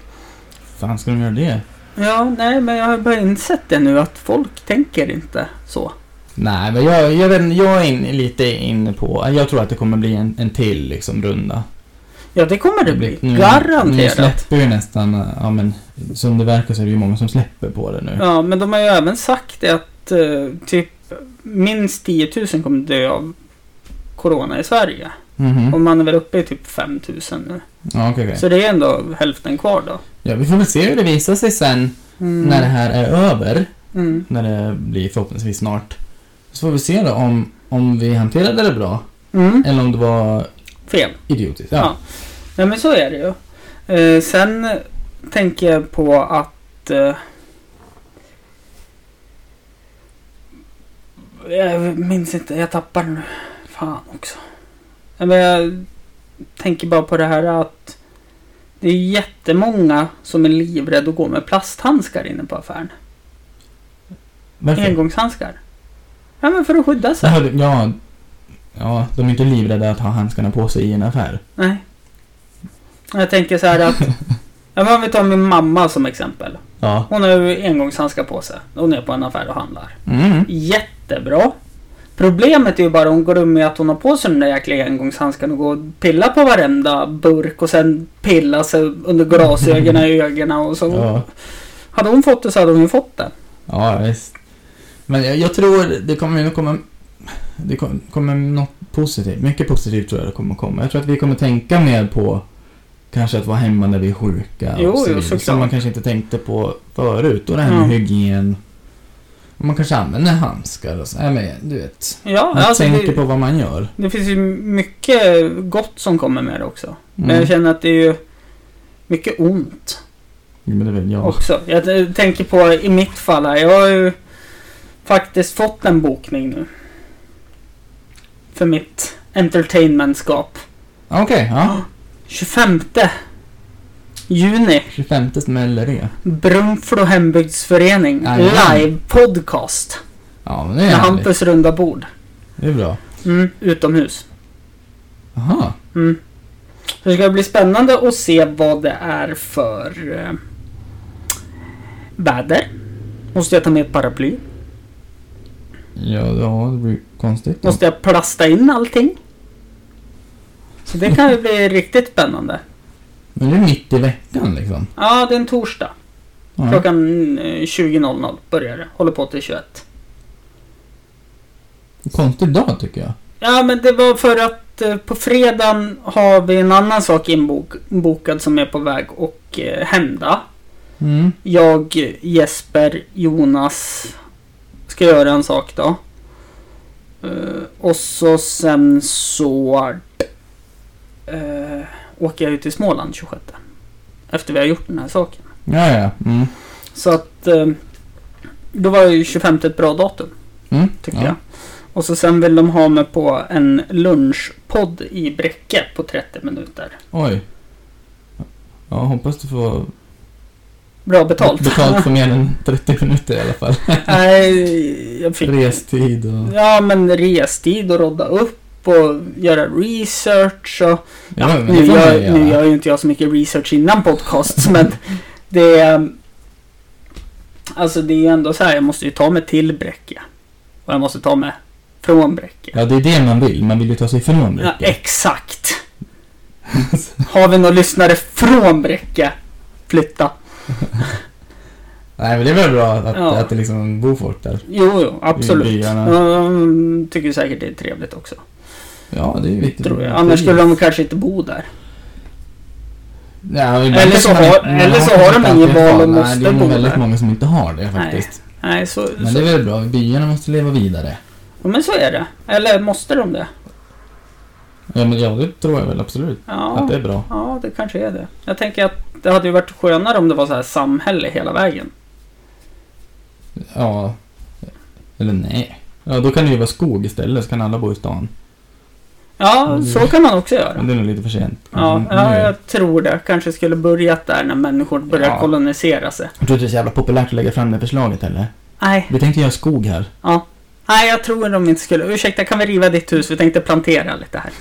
fan ska de göra det?
Ja, nej men jag har bara insett det nu att folk tänker inte så.
Nej, men jag, jag, vet, inte, jag är in, lite inne på, jag tror att det kommer bli en, en till liksom runda.
Ja, det kommer det bli.
Nu- Nu
Garanterat.
släpper ju nästan, eh, ja men som det verkar så är det ju många som släpper på det nu.
Ja, men de har ju även sagt det att eh, typ minst 10 000 kommer dö av Corona i Sverige.
Mhm.
Och man är väl uppe i typ 5 000 nu.
Ja, okej, okej.
Så det är ändå hälften kvar då.
Ja, vi får väl se hur det visar sig sen
Mm.
när det här är över.
Mm.
när det blir förhoppningsvis snart. Så får vi se då om, om vi hanterade det bra
Mm.
eller om det var
Fel.
idiotiskt. Ja.
Ja. Nej men så är det ju. Eh, sen tänker jag på att... Eh, jag minns inte, jag tappar nu. Fan också. Nej, men jag tänker bara på det här att det är jättemånga som är livrädda att gå med plasthandskar inne på affären.
Varför?
Engångshandskar. Ja men för att skydda sig.
Ja, det- ja, ja, de är inte livrädda att ha handskarna på sig i en affär.
Nej. Jag tänker så här att... Ja, men om vi tar min mamma som exempel.
Ja.
Hon har ju engångshandskar på sig. Hon är på en affär och handlar.
Mm.
Jättebra. Problemet är ju bara hon glömmer ju att hon har på sig den där jäkla engångshandskarna och går och pillar på varenda burk och sen pillar sig under glasögonen i ögonen och så
Ja.
Hade hon fått det så hade hon ju fått det.
Ja, visst. Men jag, jag tror det kommer nog komma... Det kom- kommer något positivt. Mycket positivt tror jag det kommer komma. Jag tror att vi kommer tänka mer på kanske att vara hemma när vi är sjuka.
Jo,
och så
jo,
vidare,
såklart.
Som man kanske inte tänkte på förut. Och det här med
Ja.
hygien. Och man kanske använder handskar och så. Nej, men du vet.
Ja,
Man
alltså
tänker
det,
på vad man gör. Mm.
det finns ju mycket gott som kommer med det också. Men
Mm.
jag känner att det är ju mycket ont
Jo, men det är väl jag.
också. Jag t- tänker på i mitt fall här. Jag har ju faktiskt fått en bokning nu. För mitt entertainmentskap.
Okej, ja.
25 juni.
25 smäller det.
Brunflo hembygdsförening.
Jajamän.
Live podcast.
Ja, men det är
Med
härligt.
Hampus runda bord.
Det är bra.
Mm, utomhus.
Aha.
Mm. Så det ska bli spännande att se vad det är för eh, väder. Måste jag ta med ett paraply?
Ja, ja, det blir konstigt. då.
Måste jag plasta in allting? Så det kan ju bli riktigt spännande.
Men det är mitt i veckan liksom.
Ja, det är en torsdag.
Ja.
Klockan eh, 20.00 börjar det. Håller på till 21.
Konstig dag tycker jag.
Ja, men det var för att eh, på fredagen har vi en annan sak inbokad som är på väg att eh, hända.
Mm.
Jag, Jesper, Jonas ska göra en sak då. Eh, och så sen så eh, åker jag ut till Småland 26. Efter vi har gjort den här saken.
Ja, ja. Mm.
Så att eh, då var ju 25 ett bra datum
Mm.
tyckte
ja.
jag. Och så sen vill de ha mig på en lunchpodd i Bräcke på 30 minuter.
Oj. Ja, hoppas du får
Bra betalt.
betalt för mer än 30 minuter i alla fall.
Nej, jag fick...
Restid och...
Ja, men restid och rodda upp och göra research och...
Ja, men
Nu
det får man ju
gör, nu
göra.
gör ju inte jag så mycket research innan podcasts, men det... är- Alltså det är ju ändå så här, jag måste ju ta mig till Bräcke. Och jag måste ta mig från Bräcke.
Ja, det är det man vill. Man vill ju ta sig ifrån
Ja, eh.
mycket.
exakt. Har vi några lyssnare från Bräcke? Flytta.
Nej, men det är väl bra att,
Ja.
att det liksom bor folk där.
Jo, jo, absolut.
byarna.
De tycker säkert det är trevligt också.
Ja, det är ju viktigt.
Tror jag. Annars skulle de kanske inte bo där.
Ja, ibland
Eller
kanske
så
man
har-
inte- man
eller så
kanske
har de
inte
ingen
alltid
val
ett
och
val.
måste
Nej, det är nog
bo
väldigt
där.
många som inte har det faktiskt.
Nej, så,
Men
så,
det är väl bra. Byarna måste leva vidare.
ja, men så är det. Eller måste de det?
Ja, men ja, det tror jag väl absolut. Att
Ja,
det är bra.
ja, det kanske är det. Jag tänker att det hade ju varit skönare om det var så här samhälle hela vägen.
Ja. Eller nej. Ja, då kan det ju vara skog istället så kan alla bo i stan.
Ja,
Mm.
så kan man också göra.
Men det är nog lite för sent.
Ja,
Mm,
ja,
nu-
jag tror det. Kanske skulle börjat där när människor börjar
Ja.
kolonisera sig.
Jag tror inte det är så jävla populärt att lägga fram det förslaget heller.
Nej,
Vi tänkte göra skog här.
ja. Nej, jag tror de inte skulle. Ursäkta, kan vi riva ditt hus? Vi tänkte plantera lite här.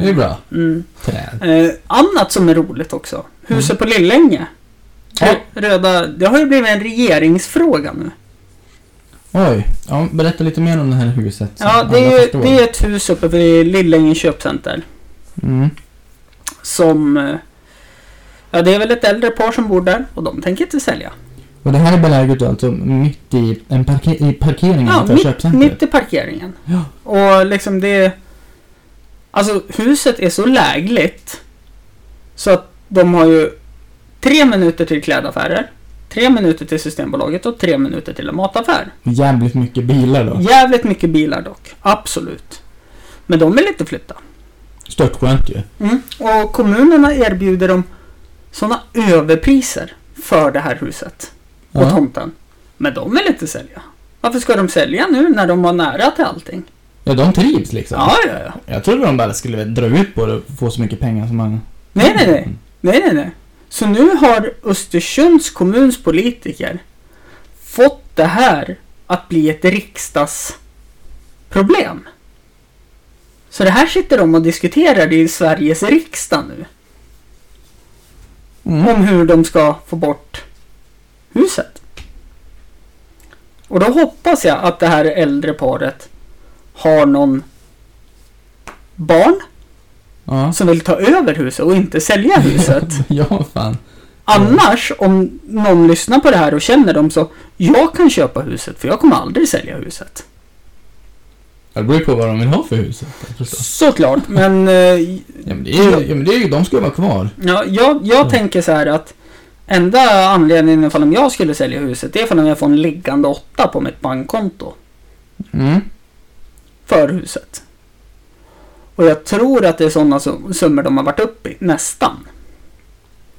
Det är bra.
Mm.
Träd.
Eh, annat som är roligt också. Huset på Lillänge.
Mm. Ja.
Rö- Röda, det har ju blivit en regeringsfråga nu.
Oj. Ja, berätta lite mer om det här huset. så
Ja, det
alla
är, ju-
förstår.
det är ett hus uppe vid Lillänge köpcenter.
Mm.
Som... eh, Ja, det är väl ett äldre par som bor där och de tänker inte sälja.
Och det här är beläget alltså mitt i, en parke- i parkeringen
Ja,
utanför
mitt,
köpcentret.
mitt i parkeringen.
Ja.
Och liksom det... Alltså huset är så lägligt. Så att de har ju tre minuter till klädaffärer. Tre minuter till Systembolaget och tre minuter till en mataffär.
Jävligt mycket bilar då.
Jävligt mycket bilar dock. Absolut. Men de vill inte flytta.
Stört skönt ju.
Mm. Och kommunerna erbjuder dem sådana överpriser för det här huset och
Ja.
tomten. Men de vill inte sälja. Varför ska de sälja nu när de var nära till allting?
Ja, de trivs liksom.
Ja, ja, ja.
Jag trodde de bara skulle dra ut på det och få så mycket pengar som man...
Nej, nej, nej. Nej, nej, nej. Så nu har Östersunds kommuns politiker fått det här att bli ett riksdagsproblem. Så det här sitter de och diskuterar i Sveriges riksdag nu.
Mm.
om hur de ska få bort huset. Och då hoppas jag att det här äldre paret har någon barn
Ja.
som vill ta över huset och inte sälja huset.
ja, fan.
Annars, om någon lyssnar på det här och känner dem så, jag kan köpa huset för jag kommer aldrig sälja huset.
Ja, Det beror ju på vad de vill ha för huset. jag förstår.
Såklart, men eh,
Ja, men det är ju, ja, men det är ju, de ska ju vara kvar.
ja, jag, jag tänker så här att enda anledningen ifall om jag skulle sälja huset, det är ifall jag får en liggande åtta på mitt bankkonto
Mm.
för huset. Och jag tror att det är sådana sum- summor de har varit uppe i, nästan.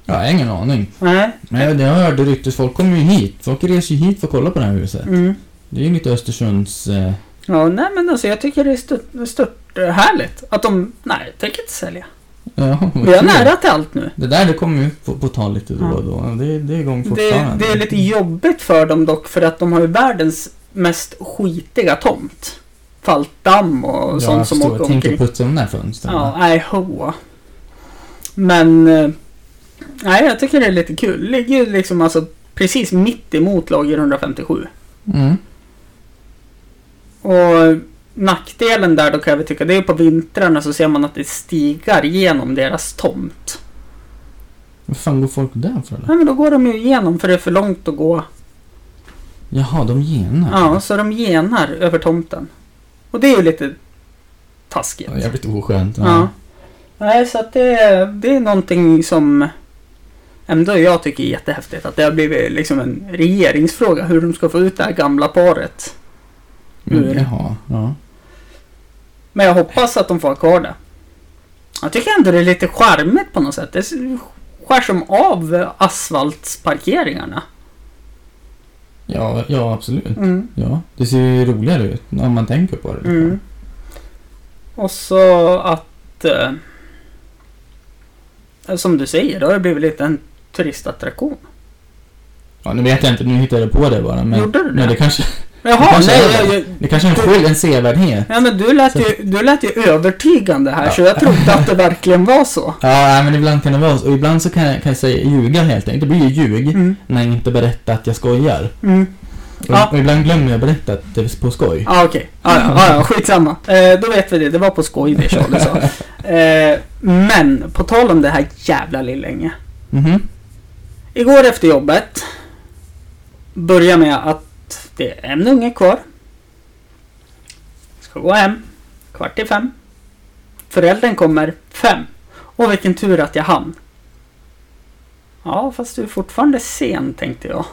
Jag har ingen aning.
Nej.
Men jag, jag hörde ryktet, folk kommer ju hit. Folk reser ju hit för att kolla på det här huset.
Mm.
Det är ju lite Östersunds... Eh,
Ja, nej men alltså jag tycker det är stört, stört eh, härligt att de, nej, jag tänker inte sälja.
ja, vad
Vi har
kul.
nära till allt nu.
Det där det kommer ju på, på tal lite då och då. Det, det är igång
Det,
fortfarande.
det är lite jobbigt för dem dock för att de har ju världens mest skitiga tomt. Fallt damm och
Ja, jag
sånt som
förstår.
åker
Tänk att
omkring.
putsa de där fönstren.
Ja, nej hoa. Men... eh, Nej, jag tycker det är lite kul. Ligger ju liksom alltså precis mitt emot lager 157.
Mm.
Och nackdelen där då kan jag väl tycka, det är ju på vintrarna så ser man att det stigar genom deras tomt.
Vad fan går folk där för eller?
Nej men då går de ju igenom för det är för långt att gå.
Jaha, de genar?
Ja, så de genar över tomten. Och det är ju lite taskigt.
Ja, Jävligt oskönt.
Ja. Nej, så att det, det är någonting som ändå jag tycker är jättehäftigt. Att det har blivit liksom en regeringsfråga hur de ska få ut det här gamla paret.
Men,
Ur.
jaha, ja.
Men jag hoppas att de får ha kvar det. Jag tycker ändå det är lite charmigt på något sätt. Det skär som av asfaltsparkeringarna.
Ja, ja absolut.
Mm.
Ja, det ser ju roligare ut om man tänker på det.
Mm. Och så att... Eh, som du säger, det har ju blivit lite en turistattraktion.
Ja, nu vet jag inte, nu hittade jag på det bara. Men,
Gjorde du det?
Men det kanske, det
Jaha,
kanske,
nej,
är,
jag, jag,
det kanske är en, skyl, en sevärdhet.
ja, men du lät, ju, du lät ju övertygande här,
Ja.
så jag trodde att det verkligen var så.
Ja, nej, men ibland kan det vara så. Och ibland så kan jag, kan jag säga ljuga helt enkelt. Det blir ju ljug
Mm.
när jag inte berättar att jag skojar.
Mm.
Och,
Ja.
och ibland glömmer jag berätta att det är på skoj.
Ah, okej. Ah, ja, ah, ja, skitsamma. Eh, då vet vi det. Det var på skoj det Charlie sa. Eh, men, på tal om det här jävla Lillänge.
Mhm.
Igår efter jobbet börjar med att det är en unge kvar. Ska gå hem. Kvart i fem. Föräldern kommer fem. Och vilken tur att jag hann. Ja, fast du är fortfarande sen tänkte jag.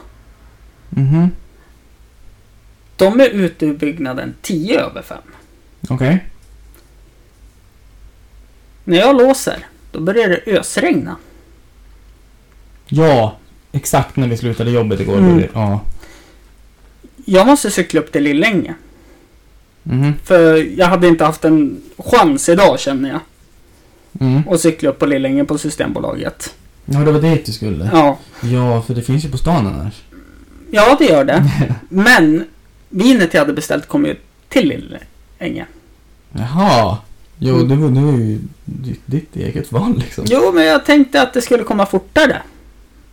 Mhm.
De är ute ur byggnaden tio över fem.
Okej.
När jag låser, då börjar det ösregna.
Ja, exakt när vi slutade jobbet igår.
Mm.
Birger. Ja.
Jag måste cykla upp till Lillänge.
Mhm.
För jag hade inte haft en chans idag känner jag.
Mm.
Att cykla upp på Lillänge på Systembolaget.
Ja, det var dit du skulle.
Ja,
Ja, för det finns ju på stan annars.
ja det gör det. Men vinet jag hade beställt kom ju till Lillänge.
Jaha. Jo,
Mm.
det var, det var ju ditt, ditt eget val liksom.
Jo, men jag tänkte att det skulle komma fortare.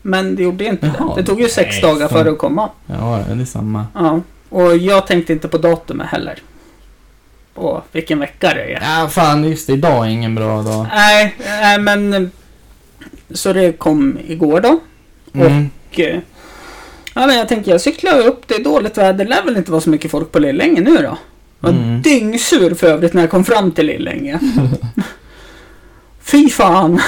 Men det gjorde ju inte
Jaha,
det. Det tog ju sex
nej,
dagar
fan.
för att komma.
Ja, det är samma.
Ja, och jag tänkte inte på datumet heller. Åh, vilken vecka det är.
Ja, fan just det. Idag är ingen bra dag.
Nej, nej men... eh, Så det kom igår då.
Mm.
Och, eh, ja, men jag tänker jag cyklar upp, det är dåligt väder, det lär väl inte vara så mycket folk på Lillänge nu då. Jag var
Mm.
dyngsur för övrigt när jag kom fram till Lillänge. Fy fan!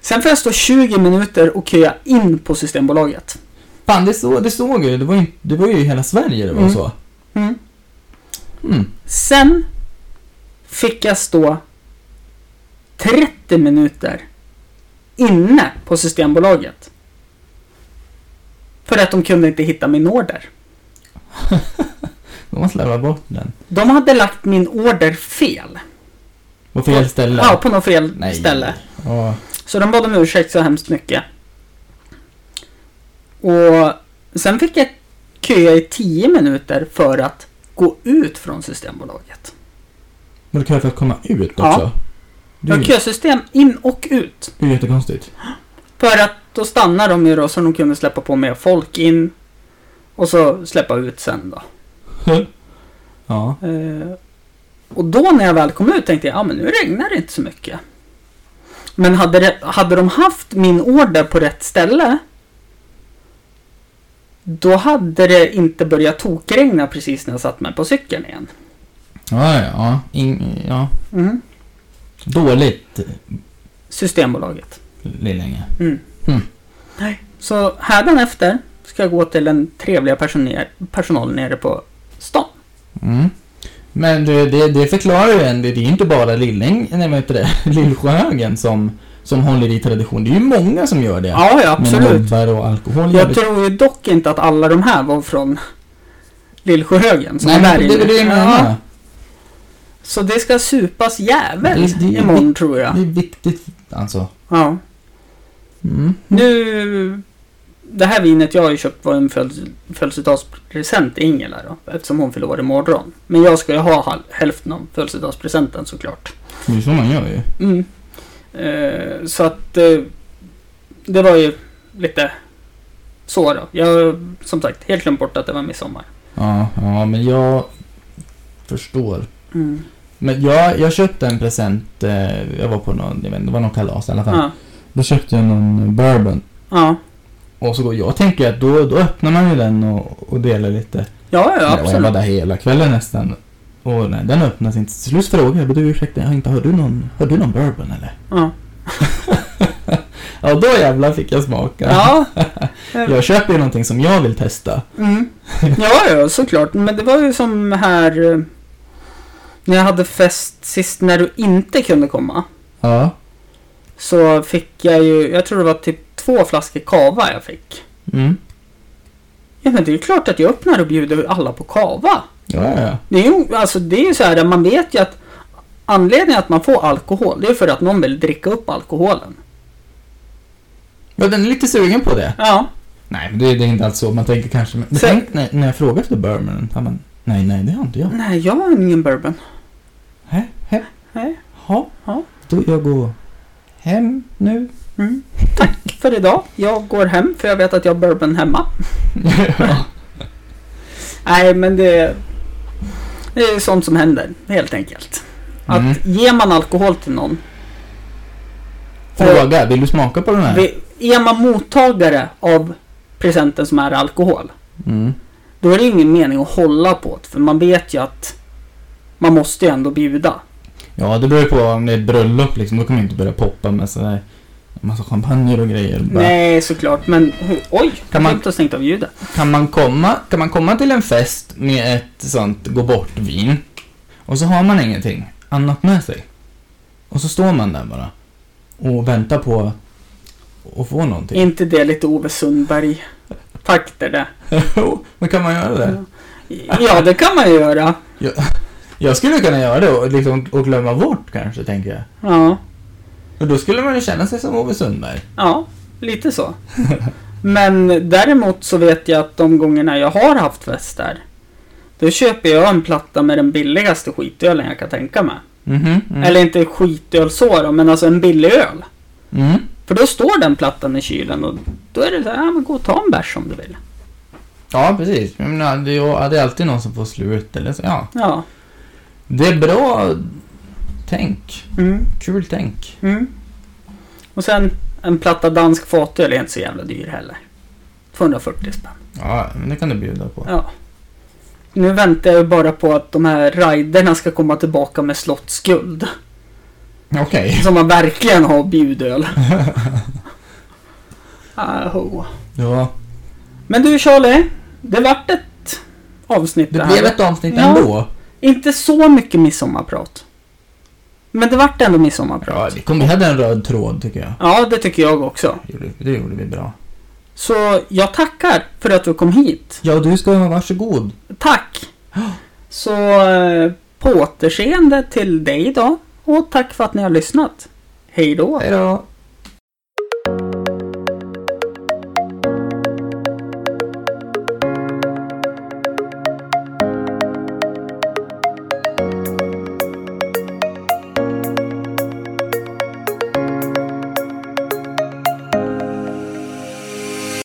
Sen får jag stå 20 minuter och köa in på Systembolaget.
Fan, det, så, det såg jag ju. Det var ju. Det var ju i hela Sverige det var
Mm.
så.
Mm.
Mm.
Sen fick jag stå 30 minuter inne på Systembolaget. För att de kunde inte hitta min order.
De har slarvat bort den.
De hade lagt min order fel.
På fel ställe.
Ja, på något fel ställe.
Ja.
Så de bad om ursäkt så hemskt mycket. Och sen fick jag köa i 10 minuter för att gå ut från Systembolaget.
Men du kan för att komma ut också?
Ja.
Det
Det
är
var
ju
kösystem in och ut.
det är ju jättekonstigt.
För att då stannar de ju då så de kunde släppa på mer folk in. Och så släppa ut sen då.
ja.
Eh, och då när jag väl kom ut tänkte jag, ja men nu regnar det inte så mycket. Men hade, det, hade de haft min order på rätt ställe. Då hade det inte börjat tokregna precis när jag satt mig på cykeln igen.
Ja, ja, ja. In, ja.
Mm.
Dåligt eh,
Systembolaget.
Lillänge.
Mm.
Mm.
Nej. Så hädanefter ska jag gå till den trevliga personer, personal nere på stan.
Mm. Men du, det, det förklarar ju en, det är inte bara Lilläng, nej vad heter det, Lillsjöhögen som, som håller i tradition. Det är ju många som gör det.
Ja,
Med
ja absolut.
nubbar och alkohol.
Jag tror ju dock inte att alla de här var från Lillsjöhögen. som
Nej,
är där
men det
inne.
är det jag
Ja.
menar.
Så det ska supas jävel
Det- det-
imorgon tror jag.
Det är viktigt, alltså.
Ja.
Mm.
Nu... Det här vinet jag har ju köpt var en födels- födelsedagspresent till Ingela då. Eftersom hon fyller år imorgon. Men jag ska ju ha hal- hälften av födelsedagspresenten såklart.
Det är så man gör ju.
Mm. Eh, så att... Eh, det var ju lite så då. Jag som sagt helt glömt bort att det var midsommar.
Ja, ja, men jag förstår.
Mm.
Men jag, jag köpte en present, eh, jag var på någon, jag vet inte, det var någon kalas i alla fall.
Ja.
Då köpte jag någon bourbon.
Ja.
Och så går jag tänker att då, då öppnar man ju den och, och delar lite.
Ja, ja,
Och jag var
absolut.
där hela kvällen nästan. Och nej, den öppnas inte. Till slut frågade jag, "Men du ursäkta, jag har inte, har du någon, har du någon bourbon eller?
Ja.
Ja, då jävlar fick jag smaka.
Ja.
Jag köper ju någonting som jag vill testa.
Mm. Ja, ja, såklart. Men det var ju som här eh, när jag hade fest sist när du inte kunde komma.
Ja.
Så fick jag ju, jag tror det var typ två flaskor kava jag fick.
Mm.
Ja, men det är ju klart att jag öppnar och bjuder alla på kava.
Ja, ja, ja.
Det är ju, alltså det är ju så här, man vet ju att anledningen att man får alkohol, det är för att någon vill dricka upp alkoholen.
Ja, den är lite sugen på det.
Ja,
Nej, men det, det är inte alls så. Man tänker kanske... Men,
Så-
tänk när, när jag frågar efter Burman, har man... Nej, nej, det har inte jag.
nej, jag har ingen bourbon.
Hä? Hä?
Nej.
Ha?
Ja.
Då jag går hem nu.
Mm. Tack för idag. Jag går hem för jag vet att jag har bourbon hemma.
ja.
Nej, men det, det är sånt som händer helt enkelt. Att
Mm.
ger man alkohol till någon,
Fråga, vill du smaka på den här?
vi- är man mottagare av presenten som är alkohol,
Mm.
då är det ingen mening att hålla på det, för man vet ju att man måste ju ändå bjuda.
Ja, det beror ju på om det är ett bröllop liksom. Då kommer jag inte börja poppa med sådär massa champagne och grejer. Bara,
Nej, såklart, men hur- oj,
man-
kan man inte ha stängt av ljudet?
Kan, man komma, kan man komma till en fest med ett sånt gå bort-vin och så har man ingenting annat med sig? Och så står man där bara och väntar på att få
Är
någonting.
inte det lite Ove Sundberg-fakter det?
Jo, men kan man göra det?
Ja, det kan man ju göra.
Jag skulle kunna göra det och, liksom, och glömma bort kanske, tänker jag.
Ja.
Och då skulle man ju känna sig som Ove Sundberg.
Ja, lite så. Men däremot så vet jag att de gångerna jag har haft fest där, då köper jag en platta med den billigaste skitölen jag kan tänka mig.
Mhm. Mm.
Eller inte skitöl så då, men alltså en billig öl.
Mm.
För då står den plattan i kylen och då är det så här, ja men gå och ta en bärs om du vill.
Ja, precis. Jag menar, det är det är alltid någon som får slut eller så. Ja.
Ja.
Det är bra tänk.
Mm,
Kul tänk.
mm. Och sen en platta dansk fatöl är inte så jävla dyr heller. 240 spänn.
Ja, men det kan du bjuda på.
Ja. Nu väntar jag ju bara på att de här raiderna ska komma tillbaka med slottsguld.
Okej.
Som man verkligen har bjudöl. Aho.
Ja.
Men du Charlie, det vart ett avsnitt
Det
det
blev
här.
ett avsnitt
Ja.
ändå.
Inte så mycket midsommarprat. Men det vart ändå
Ja,
midsommarprat.
vi, kom, vi hade en röd tråd tycker jag.
Ja, det tycker jag också.
Det gjorde- Det gjorde vi bra.
Så jag tackar för att du kom hit.
Ja, du ska vara varsågod.
Tack! Så eh, på återseende till dig idag. Och tack för att ni har lyssnat. Hej då!
Hej då.